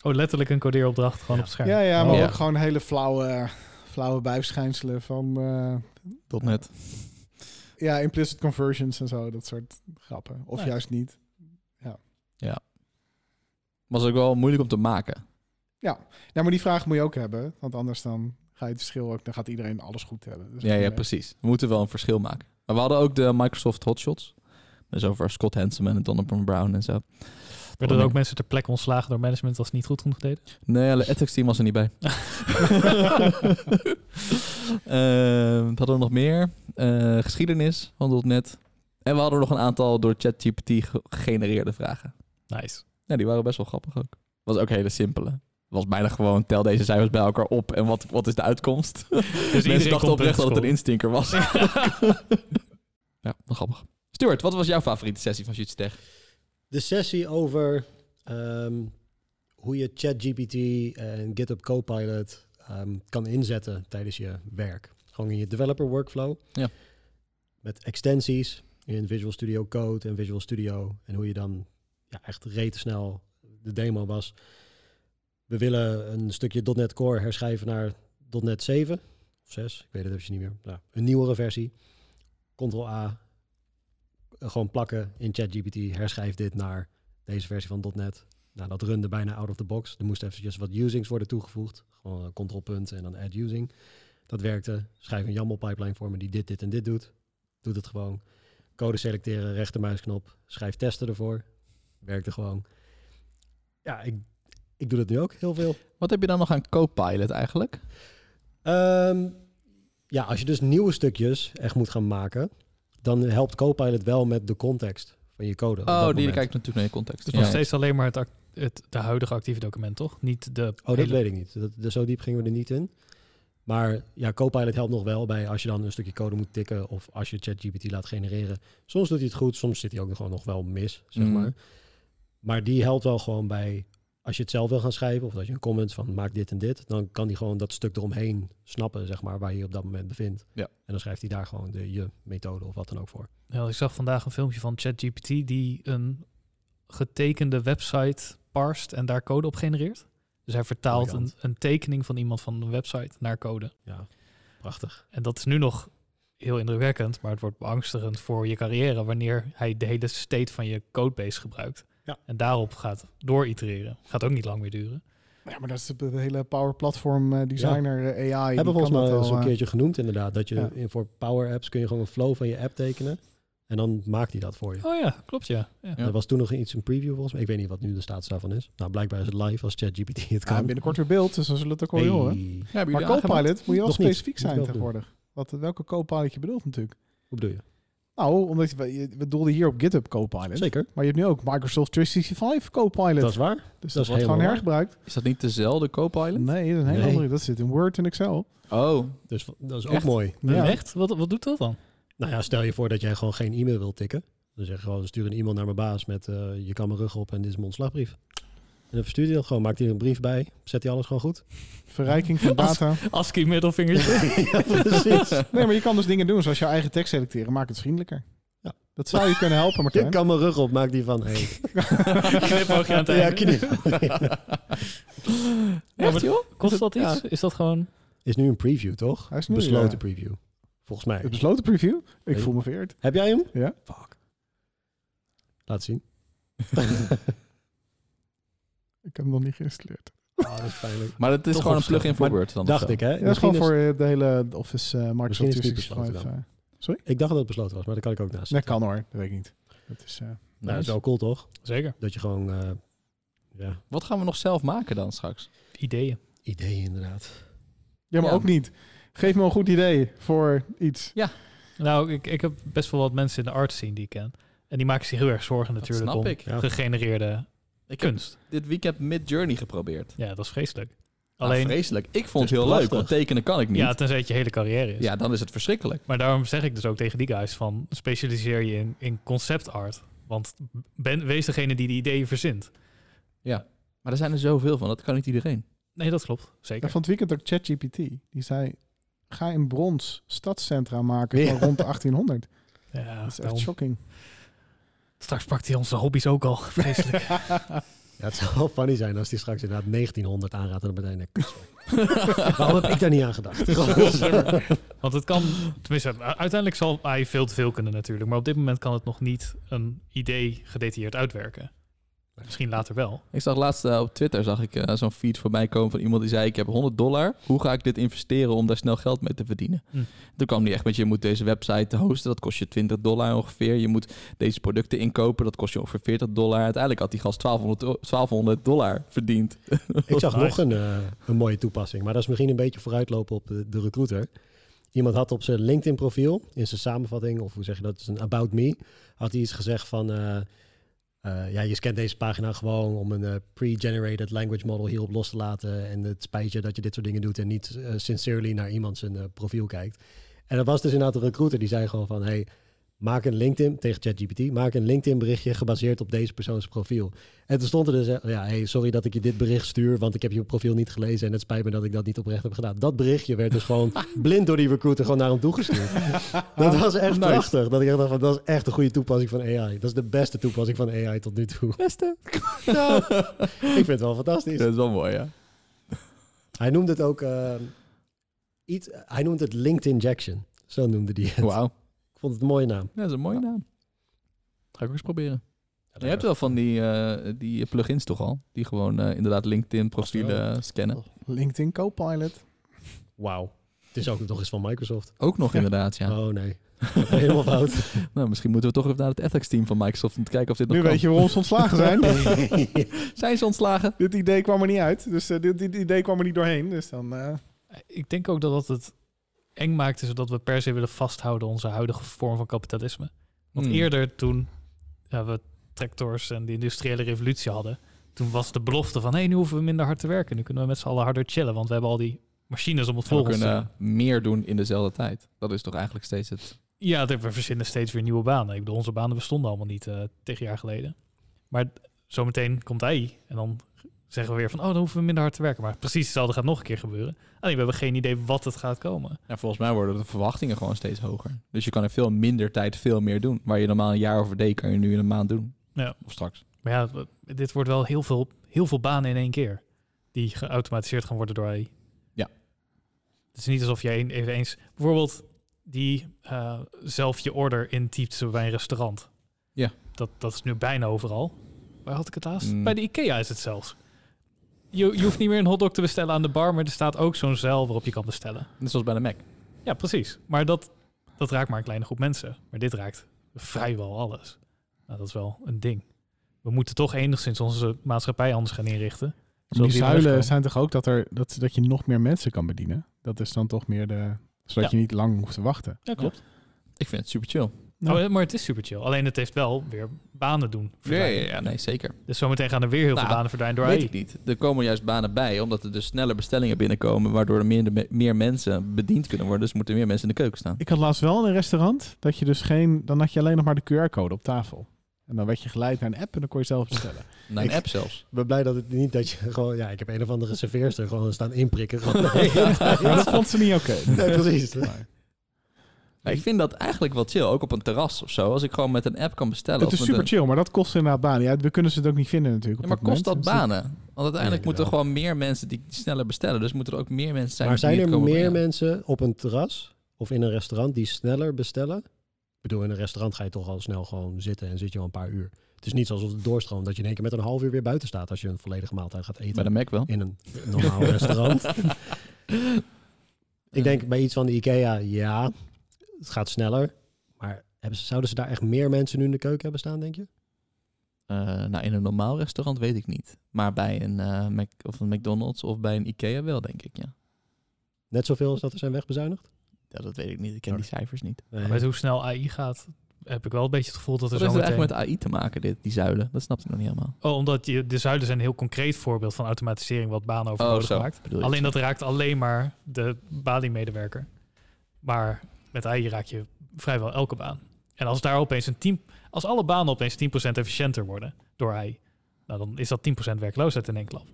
C: Oh, letterlijk een codeeropdracht gewoon op scherm.
E: ja, ja maar
B: Oh.
E: ook gewoon hele flauwe, flauwe bijverschijnselen van... eh,
B: Tot net.
E: ja, implicit conversions en zo, dat soort grappen. Of
C: Ja.
E: juist niet.
B: Was ook wel moeilijk om te maken.
E: Ja, maar die vraag moet je ook hebben. Want anders dan ga je het verschil ook... Dan gaat iedereen alles goed hebben. Dus
B: Ja, ja,
E: nee.
B: precies. We moeten wel een verschil maken. Maar we hadden ook de Microsoft hotshots. Dus over Scott Hanselman en Donovan Brown en zo.
C: Werden er ook mensen ter plekke ontslagen door management als het niet goed genoeg deden?
B: Nee, de ethics team was er niet bij. Ehm, wat hadden we nog meer? Eh, geschiedenis van .NET. En we hadden nog een aantal door ChatGPT ge- gegenereerde vragen.
C: Nice.
B: Ja, die waren best wel grappig ook. Was ook hele simpele. Was bijna gewoon, tel deze cijfers bij elkaar op en wat, wat is de uitkomst?
C: Dus
B: Mensen dachten oprecht dat het een
C: erin.
B: instinker was. ja, wel grappig. Stuart, wat was jouw favoriete sessie van Shoot Tech?
D: De sessie over ehm, hoe je ChatGPT en GitHub Copilot ehm, kan inzetten tijdens je werk. Gewoon in je developer workflow.
B: Ja.
D: Met extensies in Visual Studio Code en Visual Studio. En hoe je dan ja, echt snel de demo was. We willen een stukje .NET Core herschrijven naar .NET 7 of 6. Ik weet het even niet meer. Nou, een nieuwere versie. Ctrl-A, eh, gewoon plakken in ChatGPT, herschrijf dit naar deze versie van .NET. Nou, dat runde bijna out of the box. Er moesten eventjes wat usings worden toegevoegd. Gewoon een controlpunt en dan add using. Dat werkte. Schrijf een YAML pipeline voor me die dit, dit en dit doet. Doet het gewoon. Code selecteren, rechtermuisknop. Schrijf testen ervoor. Werkte gewoon. Ja, ik, ik doe dat nu ook heel veel.
B: Wat heb je dan nog aan Copilot eigenlijk?
D: Ehm, ja, als je dus nieuwe stukjes echt moet gaan maken, dan helpt Copilot wel met de context van je code. op dat
B: Oh, die
D: moment.
B: kijkt natuurlijk naar je context.
C: Dus
B: Ja.
C: nog steeds alleen maar het, act- het de huidige actieve document, toch? Niet de
D: Oh, dat
C: hele-
D: weet ik niet. Dat, dat- zo diep gingen we er niet in. Maar ja, Copilot helpt nog wel bij als je dan een stukje code moet tikken of als je ChatGPT laat genereren. Soms doet hij het goed, soms zit hij ook nog gewoon nog wel mis, zeg
B: Mm.
D: maar. Maar die helpt wel gewoon bij als je het zelf wil gaan schrijven of als je een comment van maak dit en dit, dan kan hij gewoon dat stuk eromheen snappen, zeg maar, waar je je op dat moment bevindt.
B: Ja.
D: En dan schrijft hij daar gewoon de, je methode of wat dan ook voor.
C: Ja, ik zag vandaag een filmpje van ChatGPT die een getekende website parst en daar code op genereert. Dus hij vertaalt een,
D: Briljant.
C: een tekening van iemand van een website naar code.
D: Ja, prachtig.
C: En dat is nu nog heel indrukwekkend, maar het wordt beangstigend voor je carrière wanneer hij de hele state van je codebase gebruikt.
D: Ja.
C: En daarop gaat dooritereren. Gaat ook niet lang meer duren.
E: Ja, maar dat is de, de hele Power Platform eh, Designer eh, AI. die
D: Hebben
E: kan
D: we volgens mij
E: dat
D: al eens
E: al,
D: een
E: eh,
D: keertje genoemd inderdaad. Dat je
E: ja.
D: in, voor Power Apps kun je gewoon een flow van je app tekenen. En dan maakt hij dat voor je.
C: Oh ja, klopt ja. ja.
B: Ja.
D: Er was toen nog iets een preview volgens mij. Ik weet niet wat nu de status daarvan is. Nou, blijkbaar is het live als ChatGPT het
E: ja,
D: kan.
E: binnenkort weer beeld, dus dan zullen we het ook
D: Hey.
E: wel horen.
B: Ja, hebben
E: Maar
B: jullie aangemaakt?
E: Copilot moet je wel
D: Nog niet.
E: specifiek
D: Moet ik
E: zijn
D: wel doen.
E: tegenwoordig. Wat, welke Copilot je bedoelt natuurlijk.
D: Hoe bedoel je?
E: Nou, omdat je, je- we doelden hier op GitHub Copilot.
D: Zeker.
E: Maar je hebt nu ook Microsoft 365 Copilot.
D: Dat is waar.
E: dus
D: dat
E: dat,
D: is
E: wordt gewoon
D: helemaal
E: hergebruikt.
B: Is dat niet dezelfde Copilot?
E: Nee, dat is een hele
D: Nee.
E: andere. Dat zit in Word en Excel.
B: Oh,
D: Dus v- dat is ook
B: Echt?
D: mooi.
E: Ja.
C: Echt? Wat, wat doet dat dan?
D: Nou ja, stel je voor dat jij gewoon geen e-mail wilt tikken. Dan zeg je gewoon, stuur een e-mail naar mijn baas met eh, je kan mijn rug op en dit is mijn ontslagbrief. En dan verstuurt hij dat gewoon, maakt hij er een brief bij, zet hij alles gewoon goed.
E: Verrijking van
C: Als-
E: data.
C: ASCII middelvingertje.
D: ja, precies.
E: Nee, maar je kan dus dingen doen zoals je eigen tekst selecteren. Maak het vriendelijker.
D: Ja.
E: Dat zou je kunnen helpen,
D: Je
E: Martijn.
D: kan mijn rug op, maakt die van, hey.
C: Knipoogje aan het
D: Ja,
C: einde.
D: knip.
B: echt joh?
C: Kost dat iets? Is dat gewoon...
D: Is nu een preview, toch?
E: Hij is nu,
D: Besloten
E: ja.
D: preview. Volgens mij.
E: De besloten preview. Ik
D: Hey.
E: voel me vereerd.
D: Heb jij hem?
E: Ja.
D: Fuck. Laat zien.
E: Ik heb hem nog niet geïnstalleerd.
D: Ah, dat is pijnlijk.
B: Maar het is
D: Toch
B: gewoon een plugin
D: opgeschreven.
B: voor
D: Maar
B: Word dan. of
D: Dacht
B: zo.
D: ik, hè?
E: Ja, dat is
D: Misschien
E: gewoon voor eh, de hele Office eh, Microsoft
D: Misschien is het niet besloten
E: 365. eh.
D: Ik dacht dat het besloten was, maar daar kan ik ook naast.
E: Dat
D: zitten.
E: kan hoor, dat weet ik niet. Dat is, eh,
D: Nou, dat is
B: Nice.
D: wel cool toch?
C: Zeker.
D: Dat je gewoon eh, ja,
B: Wat gaan we nog zelf maken dan straks?
C: Ideeën.
D: ideeën inderdaad.
E: Ja, maar
B: Ja.
E: ook niet. Geef me een goed idee voor iets.
C: Nou, ik, ik heb best wel wat mensen in de art scene die ik ken. En die maken zich heel erg zorgen natuurlijk
B: snap
C: om
B: ik. Ja.
C: gegenereerde
B: Ik heb
C: kunst.
B: dit weekend Mid Journey geprobeerd.
C: Ja, dat is vreselijk.
B: Nou,
C: Alleen,
B: vreselijk. Ik vond
D: Het
B: het
D: is
B: heel leuk,
D: prachtig.
B: want tekenen kan ik niet.
C: ja,
B: Ja,
C: tenzij het je hele carrière is.
B: dan is het verschrikkelijk.
C: Maar daarom zeg ik dus ook tegen die guys van specialiseer je in, in concept art. Want ben, wees degene die de ideeën verzint.
B: Maar er zijn er zoveel van, dat kan niet iedereen.
C: Nee, dat klopt.
E: Ja,
C: Zeker.
E: van het weekend ook ChatGPT. Die zei, ga in brons stadscentra maken
D: Ja.
E: van rond de 1800.
C: Ja,
E: Dat is echt
C: daarom.
E: shocking.
C: Straks pakt hij onze hobby's ook al. Vreselijk.
D: Ja, het zou wel funny zijn als die straks inderdaad 1900 aanraadt en dan meteen... eh, Waarom heb ik daar niet aan gedacht?
C: Want het kan, tenminste, u- uiteindelijk zal AI veel te veel kunnen natuurlijk. Maar op dit moment kan het nog niet een idee gedetailleerd uitwerken. Misschien later wel.
B: Ik zag laatst eh, op Twitter zag ik eh, zo'n feed voorbij komen van iemand die zei: Ik heb 100 dollar. Hoe ga ik dit investeren om daar snel geld mee te verdienen?
C: Hm.
B: Toen kwam die echt met: Je moet deze website hosten. Dat kost je 20 dollar ongeveer. Je moet deze producten inkopen. Dat kost je ongeveer 40 dollar. Uiteindelijk had die gast 1200, o- 1200 dollar verdiend.
D: Ik zag
C: Nice.
D: nog een, eh, een mooie toepassing, maar dat is misschien een beetje vooruitlopen op de, de recruiter. Iemand had op zijn LinkedIn-profiel, in zijn samenvatting, of hoe zeg je dat, een About Me, had hij iets gezegd van, eh, eh, ja, je scant deze pagina gewoon om een eh, pre-generated language model hierop los te laten. En het spijt je dat je dit soort dingen doet en niet eh, sincerely naar iemand zijn eh, profiel kijkt. En dat was dus inderdaad een recruiter die zei gewoon van, hey, maak een LinkedIn, tegen ChatGPT, maak een LinkedIn-berichtje gebaseerd op deze persoons profiel. En toen stond er dus, eh, ja, hey, sorry dat ik je dit bericht stuur, want ik heb je profiel niet gelezen en het spijt me dat ik dat niet oprecht heb gedaan. Dat berichtje werd dus gewoon blind door die recruiter gewoon naar hem toegestuurd. dat was echt
B: Nice.
D: prachtig. Dat ik echt dacht van, dat is echt een goede toepassing van AI. Dat is de beste toepassing van AI tot nu toe.
B: Beste.
D: Ik vind het wel fantastisch.
B: Dat is wel mooi, ja.
D: Hij noemde het ook, eh, iets, hij noemt het LinkedIn-jaction. Zo noemde hij het.
B: Wauw.
D: Ik vond het een mooie naam.
B: Ja, dat is een mooie naam. Ga ik ook eens proberen. Je hebt wel van die, eh, die plugins toch al? Die gewoon eh, inderdaad LinkedIn-profielen scannen.
E: LinkedIn Copilot.
D: Wauw. Het is ook nog eens van Microsoft.
B: Ook nog inderdaad, ja.
D: Oh nee. Helemaal fout.
B: Nou, misschien moeten we toch even naar het ethics-team van Microsoft... om te kijken of dit nog
E: Nu
B: kan.
E: weet je waarom ze ontslagen zijn.
B: Zijn ze ontslagen?
E: dit idee kwam er niet uit. Dus eh, dit, dit idee kwam er niet doorheen. Dus dan... eh,
C: Ik denk ook dat dat het eng maakt, is dat we per se willen vasthouden onze huidige vorm van kapitalisme. Want
B: Hmm.
C: eerder toen ja, we tractors en de industriële revolutie hadden, toen was de belofte van hé, hey, nu hoeven we minder hard te werken. Nu kunnen we met z'n allen harder chillen, want we hebben al die machines om het
B: We
C: volgen.
B: kunnen meer doen in dezelfde tijd. Dat is toch eigenlijk steeds het...
C: Ja, er- we verzinnen steeds weer nieuwe banen. Ik bedoel, onze banen bestonden allemaal niet eh tegen jaar geleden. Maar d- zometeen komt AI en dan zeggen we weer van, oh, dan hoeven we minder hard te werken. Maar precies hetzelfde gaat nog een keer gebeuren. Alleen, we hebben geen idee wat het gaat komen.
B: Ja, volgens mij worden de verwachtingen gewoon steeds hoger. Dus je kan in veel minder tijd veel meer doen. Waar je normaal een jaar over deed, kan je nu in een maand doen.
C: Ja.
B: Of straks.
C: Maar ja, w- dit wordt wel heel veel, heel veel banen in één keer. Die geautomatiseerd gaan worden door AI.
B: Ja.
C: Het is niet alsof jij een- even eens... Bijvoorbeeld die eh, zelf je order intypt bij een restaurant.
B: Ja.
C: Dat, dat is nu bijna overal. Waar had ik het laatst?
B: Mm.
C: Bij de IKEA is het zelfs. Je, je hoeft niet meer een hotdog te bestellen aan de bar, maar er staat ook zo'n zeil waarop je kan bestellen.
B: Net zoals bij de Mac.
C: Ja, precies. Maar dat, dat raakt maar een kleine groep mensen. Maar dit raakt vrijwel alles. Nou, dat is wel een ding. We moeten toch enigszins onze maatschappij anders gaan inrichten.
E: Maar
C: zodat
E: die
C: we hier
E: zuilen
C: wegkomen.
E: zijn toch ook dat, er, dat, dat je nog meer mensen kan bedienen? Dat is dan toch meer de... Zodat
C: Ja.
E: je niet lang hoeft te wachten.
C: Ja, klopt.
B: Ik vind het super chill.
E: Nou.
C: Oh, maar het is super chill. Alleen het heeft wel weer banen doen. verdwijnen.
B: Nee, zeker.
C: Dus zometeen gaan er weer heel
B: Nou,
C: veel banen verdwijnen door
B: Weet
C: AI.
B: ik niet. Er komen juist banen bij, omdat er dus sneller bestellingen binnenkomen, waardoor er meer, meer mensen bediend kunnen worden. Dus moeten meer mensen in de keuken staan.
E: Ik had laatst wel in een restaurant dat je dus geen... Dan had je alleen nog maar de QR-code op tafel. En dan werd je geleid naar een app en dan kon je zelf bestellen.
B: Naar een
D: Ik-
B: app zelfs.
D: Ik ben blij dat het niet dat je gewoon... Ja, ik heb een of andere serveerster gewoon staan inprikken.
E: Maar dat vond ze niet oké.
D: Nee, precies.
E: Maar
B: Maar Nou, ik vind dat eigenlijk wel chill, ook op een terras of zo. Als ik gewoon met een app kan bestellen.
E: Het
B: of
E: is
B: met
E: super
B: een-
E: chill, maar dat kost inderdaad banen. Ja, we kunnen ze het ook niet vinden natuurlijk.
B: Ja,
E: op
B: maar kost dat
E: moment. Dus
B: banen? Want uiteindelijk
D: Ja,
B: moeten er
D: wel.
B: gewoon meer mensen die die sneller bestellen. Dus moeten er ook meer mensen zijn
D: maar zijn
B: die het
D: er
B: komen
D: meer
B: brengen.
D: mensen op een terras of in een restaurant die sneller bestellen? Ik bedoel, in een restaurant ga je toch al snel gewoon zitten en zit je al een paar uur. Het is niet alsof het doorstroomt dat je in één keer met een half uur weer buiten staat als je een volledige maaltijd gaat eten.
B: Bij de Mac wel.
D: in een normaal restaurant. Ik denk bij iets van de IKEA, ja, het gaat sneller. Maar hebben ze, zouden ze daar echt meer mensen nu in de keuken hebben staan, denk je?
B: eh, nou, in een normaal restaurant weet ik niet. Maar bij een, eh, Mac of een McDonald's of bij een Ikea wel, denk ik, ja.
D: Net zoveel als dat er zijn wegbezuinigd?
B: ja dat weet ik niet. Ik ken die cijfers niet.
C: Met hoe snel AI gaat, heb ik wel een beetje het gevoel dat
B: Wat
C: er zo
B: heeft het
C: meteen...
B: eigenlijk met AI te maken, dit, die zuilen? Dat snap ik nog niet helemaal.
C: Oh, omdat je, de zuilen zijn een heel concreet voorbeeld van automatisering wat banen
B: Oh,
C: overbodig maakt.
B: Bedoel je?
C: Alleen dat raakt alleen maar de Bali-medewerker. Maar met AI raak je vrijwel elke baan. En als daar opeens een team, als alle banen opeens 10% efficiënter worden door AI, nou dan is dat 10% werkloosheid in één klap.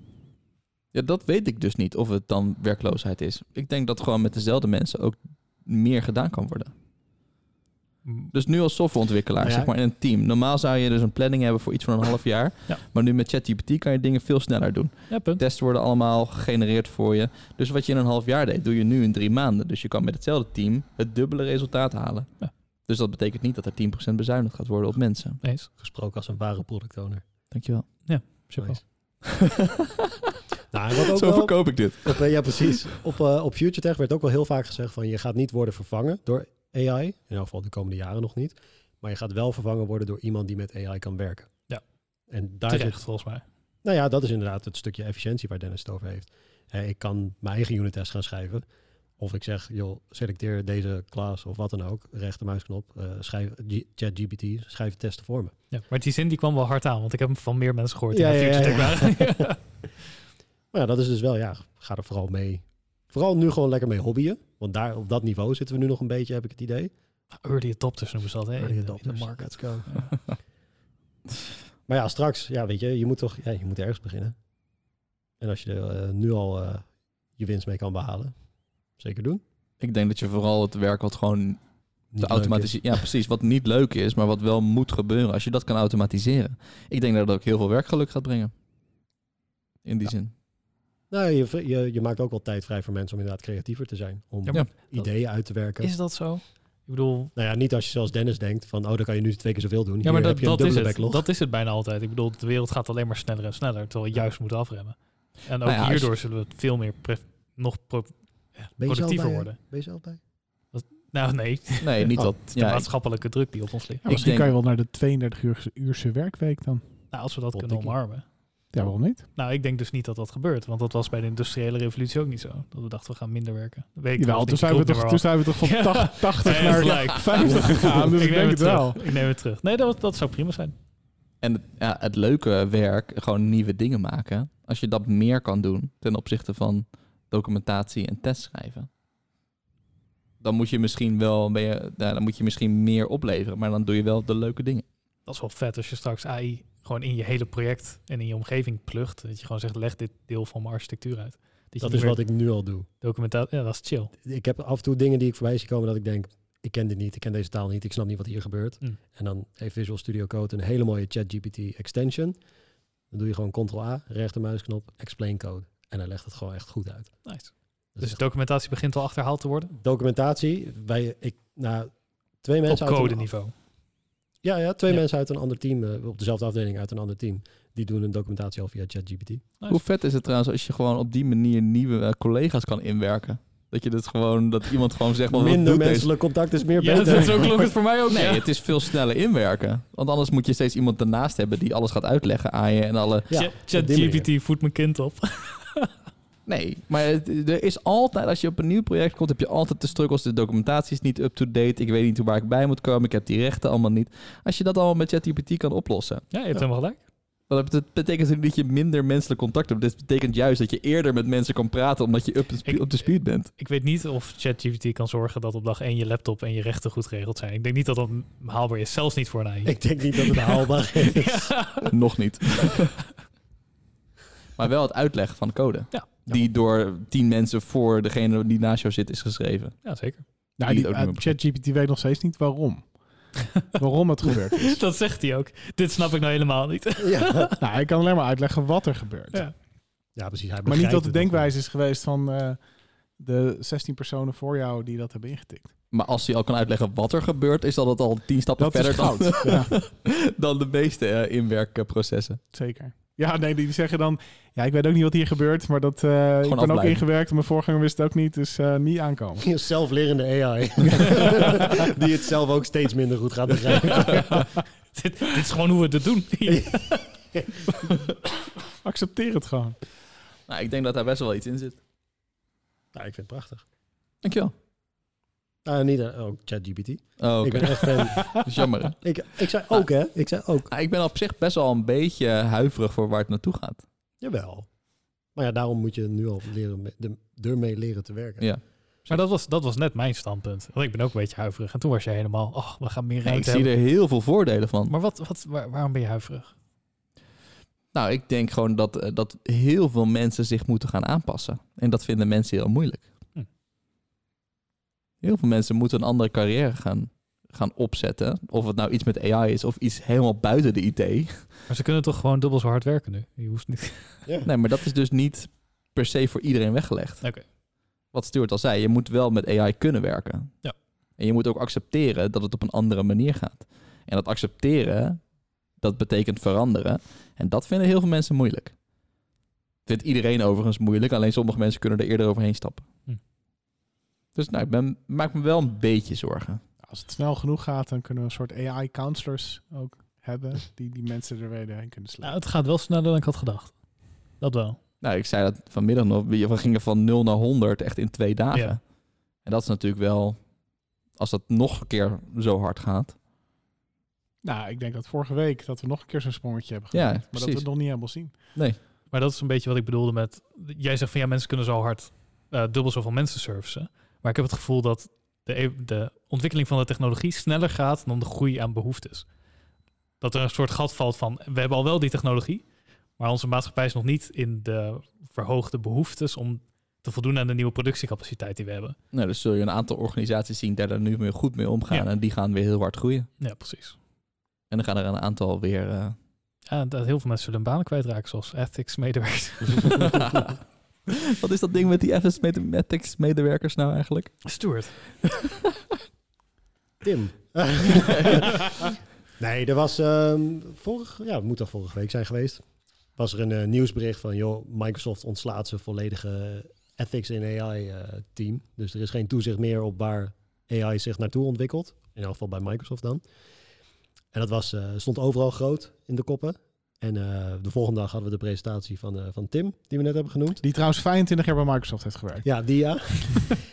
B: Ja, dat weet ik dus niet of het dan werkloosheid is. Ik denk dat gewoon met dezelfde mensen ook meer gedaan kan worden. Dus nu als softwareontwikkelaar,
D: Nou ja.
B: zeg maar in een team. Normaal zou je dus een planning hebben voor iets van een half jaar.
C: Ja.
B: Maar nu met ChatGPT kan je dingen veel sneller doen.
C: Ja, punt.
B: Tests worden allemaal gegenereerd voor je. Dus wat je in een half jaar deed, doe je nu in drie maanden. Dus je kan met hetzelfde team het dubbele resultaat halen.
C: Ja.
B: Dus dat betekent niet dat er 10% bezuinigd gaat worden op mensen.
C: Eens.
D: Gesproken als een ware product owner.
B: Dankjewel.
C: Chapeau.
D: Nice. Nou, en wat ook
B: Zo
D: wel-
B: verkoop ik dit.
D: Op, eh, ja, precies. Op, eh op FutureTech werd ook wel heel vaak gezegd van je gaat niet worden vervangen door AI. In elk geval de komende jaren nog niet. Maar je gaat wel vervangen worden door iemand die met AI kan werken.
C: Ja.
D: En daar
C: Terecht
D: zit,
C: volgens mij.
D: nou ja, dat is inderdaad het stukje efficiëntie waar Dennis het over heeft. Eh, ik kan mijn eigen unit test gaan schrijven. Of ik zeg, joh, selecteer deze klas of wat dan ook. Rechtermuisknop, eh schrijf G- ChatGPT, schrijf testen voor me.
C: Ja, maar die zin die kwam wel hard aan, want ik heb hem van meer mensen gehoord.
D: Ja,
C: Ja,
D: ja,
C: ja,
D: ja, Maar ja, dat is dus wel, ja, ga er vooral mee. Vooral nu gewoon lekker mee hobbyen. Want daar, op dat niveau zitten we nu nog een beetje, heb ik het idee.
C: Early adopters noemen ze dat, hè? in de- in de market.
D: Let's go. Maar ja, straks, ja, weet je, je moet toch ja, je moet ergens beginnen. En als je er eh, nu al eh, je winst mee kan behalen, zeker doen.
B: Ik denk dat je vooral het werk wat gewoon
D: Niet
B: te
D: leuk
B: automatiseren. Ja, precies. Wat niet leuk is, maar wat wel moet gebeuren. Als je dat kan automatiseren. Ik denk dat dat ook heel veel werkgeluk gaat brengen. In die zin.
D: is. Nou, je, vri- je, je maakt ook wel tijd vrij voor mensen om inderdaad creatiever te zijn. Om
C: Ja,
B: maar
D: ideeën uit te werken.
C: Is dat zo? Ik bedoel,
D: Nou ja, niet als je zoals Dennis denkt van, oh, dan kan je nu twee keer zoveel doen.
C: ja, maar
D: Hier
C: dat,
D: heb je een
C: dat, is
D: dubbele
C: het.
D: backlog.
C: dat is het bijna altijd. Ik bedoel, de wereld gaat alleen maar sneller en sneller, terwijl we juist moeten afremmen. En ook
B: Nou ja, als je-
C: hierdoor zullen we veel meer pre- nog pro-
D: ben je zelf
C: productiever
D: bij, eh,
C: worden.
D: Ben je zelf bij?
C: Nou nee, de
B: Nee, niet
D: Oh,
B: dat. Ja, ik-
C: maatschappelijke druk die op ons ligt.
E: Ja,
B: Ik
E: misschien
B: denk-
E: kan je wel naar de 32 uur- uurse werkweek dan.
C: Nou, als we dat
D: Wat
C: kunnen
D: denk je?
C: omarmen.
E: Ja, waarom niet?
C: Nou, ik denk dus niet dat dat gebeurt, want dat was bij de industriële revolutie ook niet zo. Dat we dachten, we gaan minder werken. Dat weet ik
E: Jawel,
C: wel,
E: toen zijn, we toch, toen zijn we toch van
C: Ja.
E: 80 80
C: Nee,
E: naar
C: gelijk.
E: 50 gegaan. Dus ik, denk het wel.
C: Ik neem het eh, terug. Nee, dat, dat zou prima zijn.
B: en het, ja, het leuke werk, gewoon nieuwe dingen maken. Als je dat meer kan doen ten opzichte van documentatie en test schrijven. Dan moet je misschien wel ben je, nou, dan moet je misschien meer opleveren. Maar dan doe je wel de leuke dingen.
C: Dat is wel vet als je straks AI gewoon in je hele project en in je omgeving plugt. Dat je gewoon zegt, leg dit deel van mijn architectuur uit. je
D: Dat
C: niet
D: is
C: meer
D: wat ik nu al doe.
C: documentatie... Ja, dat is chill.
D: ik heb af en toe dingen die ik voorbij zie komen dat ik denk, ik ken dit niet, ik ken deze taal niet, ik snap niet wat hier gebeurt.
C: Mm.
D: En dan heeft Visual Studio Code een hele mooie ChatGPT extension. Dan doe je gewoon Ctrl-A, rechtermuisknop, explain code. En hij legt het gewoon echt goed uit.
C: Nice.
D: Dat is
C: Dus
D: echt-
C: documentatie begint al achterhaald te worden?
D: documentatie, wij, ik, nou, twee mensen
C: op
D: uit een-
C: codeniveau.
D: Ja, ja, twee
C: Ja.
D: mensen uit een ander team, eh, op dezelfde afdeling uit een ander team, die doen een documentatie al via ChatGPT.
B: Hoe vet is het trouwens als je gewoon op die manier nieuwe eh, collega's kan inwerken? Dat je dit gewoon, dat iemand gewoon zegt, "Wat- wat
D: Minder
B: doet deze
D: menselijk contact is meer
C: Ja,
D: beter.
C: dat zo klonk het voor mij ook.
B: Nee,
C: ja.
B: het is veel sneller inwerken. Want anders moet je steeds iemand ernaast hebben die alles gaat uitleggen aan je en alle...
D: Ja,
C: Chat-
D: op die
C: ChatGPT voedt mijn kind op.
B: Nee, maar het- er is altijd, als je op een nieuw project komt, heb je altijd de struggles. De documentatie is niet up-to-date. Ik weet niet hoe waar ik bij moet komen. Ik heb die rechten allemaal niet. Als je dat allemaal met ChatGPT kan oplossen,
C: Ja, je hebt helemaal gelijk.
B: dan heb- dat betekent het niet dat je minder menselijk contact hebt. Dit betekent juist dat je eerder met mensen kan praten omdat je up to spe-
C: Ik-
B: up to speed bent.
C: Ik weet niet of ChatGPT kan zorgen dat op dag 1 je laptop en je rechten goed geregeld zijn. Ik denk niet dat dat haalbaar is, zelfs niet voor een AI.
D: Ik denk niet dat het haalbaar is.
B: Nog niet. maar wel het uitleggen van code.
C: Ja.
B: Die door tien mensen voor degene die naast jou zit is geschreven.
C: Ja, zeker.
E: Nou,
B: Die het
E: die,
B: ook niet meer
E: eh, ChatGPT weet nog steeds niet waarom. waarom het gebeurt.
C: Dat zegt hij ook. Dit snap ik nou helemaal niet.
D: ja.
E: Nou, hij kan alleen maar uitleggen wat er gebeurt.
C: Ja.
D: ja, precies.
E: Maar
D: Hij
E: niet dat
D: begrijpt
E: de
D: het nog niet.
E: denkwijze is geweest van eh, de 16 personen voor jou die dat hebben ingetikt.
B: Maar als hij al kan uitleggen wat er gebeurt, is dat het al tien stappen
E: Dat is
B: verder dan,
E: goud. ja,
B: dan de meeste eh, inwerkprocessen.
E: zeker. Ja, nee, die zeggen dan... Ja, ik weet ook niet wat hier gebeurt, maar dat, eh, ik ben ook
B: afblijven.
E: ingewerkt. en Mijn voorganger wist het ook niet, dus eh, niet aankomen.
D: Een zelflerende AI. die het zelf ook steeds minder goed gaat begrijpen.
C: dit, dit is gewoon hoe we het doen.
E: Accepteer het gewoon.
B: Nou, ik denk dat daar best wel iets in zit.
D: Nou, ik vind het prachtig.
B: Dankjewel.
D: Nou, niet eh, ook ChatGPT.
B: Oh, oké.
D: Ik ben echt fan.
B: Dat is jammer. hè?
D: ik, ik zei ook, hè? Ik zei ook.
B: Nou, ik ben op zich best wel een beetje huiverig voor waar het naartoe gaat.
D: Jawel. Maar ja, daarom moet je nu al leren me- de, ermee leren te werken.
B: Ja.
C: Maar dat was, dat was net mijn standpunt. Want ik ben ook een beetje huiverig. En toen was je helemaal, oh, we gaan meer
B: ik
C: ruimte
B: zie
C: hebben.
B: er heel veel voordelen van.
C: Maar wat, wat, waar- waarom ben je huiverig?
B: Nou, ik denk gewoon dat, eh, dat heel veel mensen zich moeten gaan aanpassen. En dat vinden mensen heel moeilijk.
C: Hm.
B: Heel veel mensen moeten een andere carrière gaan, gaan opzetten. Of het nou iets met AI is of iets helemaal buiten de IT.
C: Maar ze kunnen toch gewoon dubbel zo hard werken nu? Je hoeft niet...
B: Nee, maar dat is dus niet per se voor iedereen weggelegd.
C: Oké.
B: Wat Stuart al zei, je moet wel met AI kunnen werken.
C: Ja.
B: En je moet ook accepteren dat het op een andere manier gaat. En dat accepteren, dat betekent veranderen. En dat vinden heel veel mensen moeilijk. Vindt iedereen overigens moeilijk, alleen sommige mensen kunnen er eerder overheen stappen.
C: Hm.
B: Dus nou, ik ben, maak me wel een beetje zorgen.
E: Als het snel genoeg gaat, dan kunnen we een soort AI-counselors ook hebben. Die die mensen er weer heen kunnen
C: Nou,
E: slaan.
C: het gaat wel sneller dan ik had gedacht. Dat wel.
B: Nou, ik zei dat vanmiddag nog. We gingen van 0 naar 100 echt in twee dagen.
C: Ja.
B: En dat is natuurlijk wel, als dat nog een keer zo hard gaat.
E: Nou, ik denk dat vorige week dat we nog een keer zo'n sprongetje hebben
B: Ja,
E: gedaan. maar dat we
B: precies.
E: het nog niet helemaal zien.
C: Maar dat is een beetje wat ik bedoelde met... Jij zegt van, ja, mensen kunnen zo hard eh, dubbel zoveel mensen servicen. Maar ik heb het gevoel dat de, e- de ontwikkeling van de technologie sneller gaat dan de groei aan behoeftes. Dat er een soort gat valt van, we hebben al wel die technologie... maar onze maatschappij is nog niet in de verhoogde behoeftes... om te voldoen aan de nieuwe productiecapaciteit die we hebben.
B: Nou, dus zul je een aantal organisaties zien die daar nu meer goed mee omgaan.
C: Ja.
B: En die gaan weer heel hard groeien.
C: Ja, precies.
B: En dan gaan er een aantal weer. eh,
C: Ja, dat heel veel mensen zullen hun banen kwijtraken, zoals ethics-medewerkers.
B: Wat is dat ding met die FS Mathematics medewerkers nou eigenlijk?
C: Stuart.
D: Tim. nee, er was ehm vorig, ja, het moet toch vorige week zijn geweest. Was er een eh, nieuwsbericht van, joh, Microsoft ontslaat zijn volledige ethics in AI eh, team. Dus er is geen toezicht meer op waar AI zich naartoe ontwikkelt. In elk geval bij Microsoft dan. En dat was, eh, stond overal groot in de koppen. En eh, de volgende dag hadden we de presentatie van, eh, van Tim, die we net hebben genoemd.
E: Die trouwens 25 jaar bij Microsoft heeft gewerkt.
D: Ja, die ja.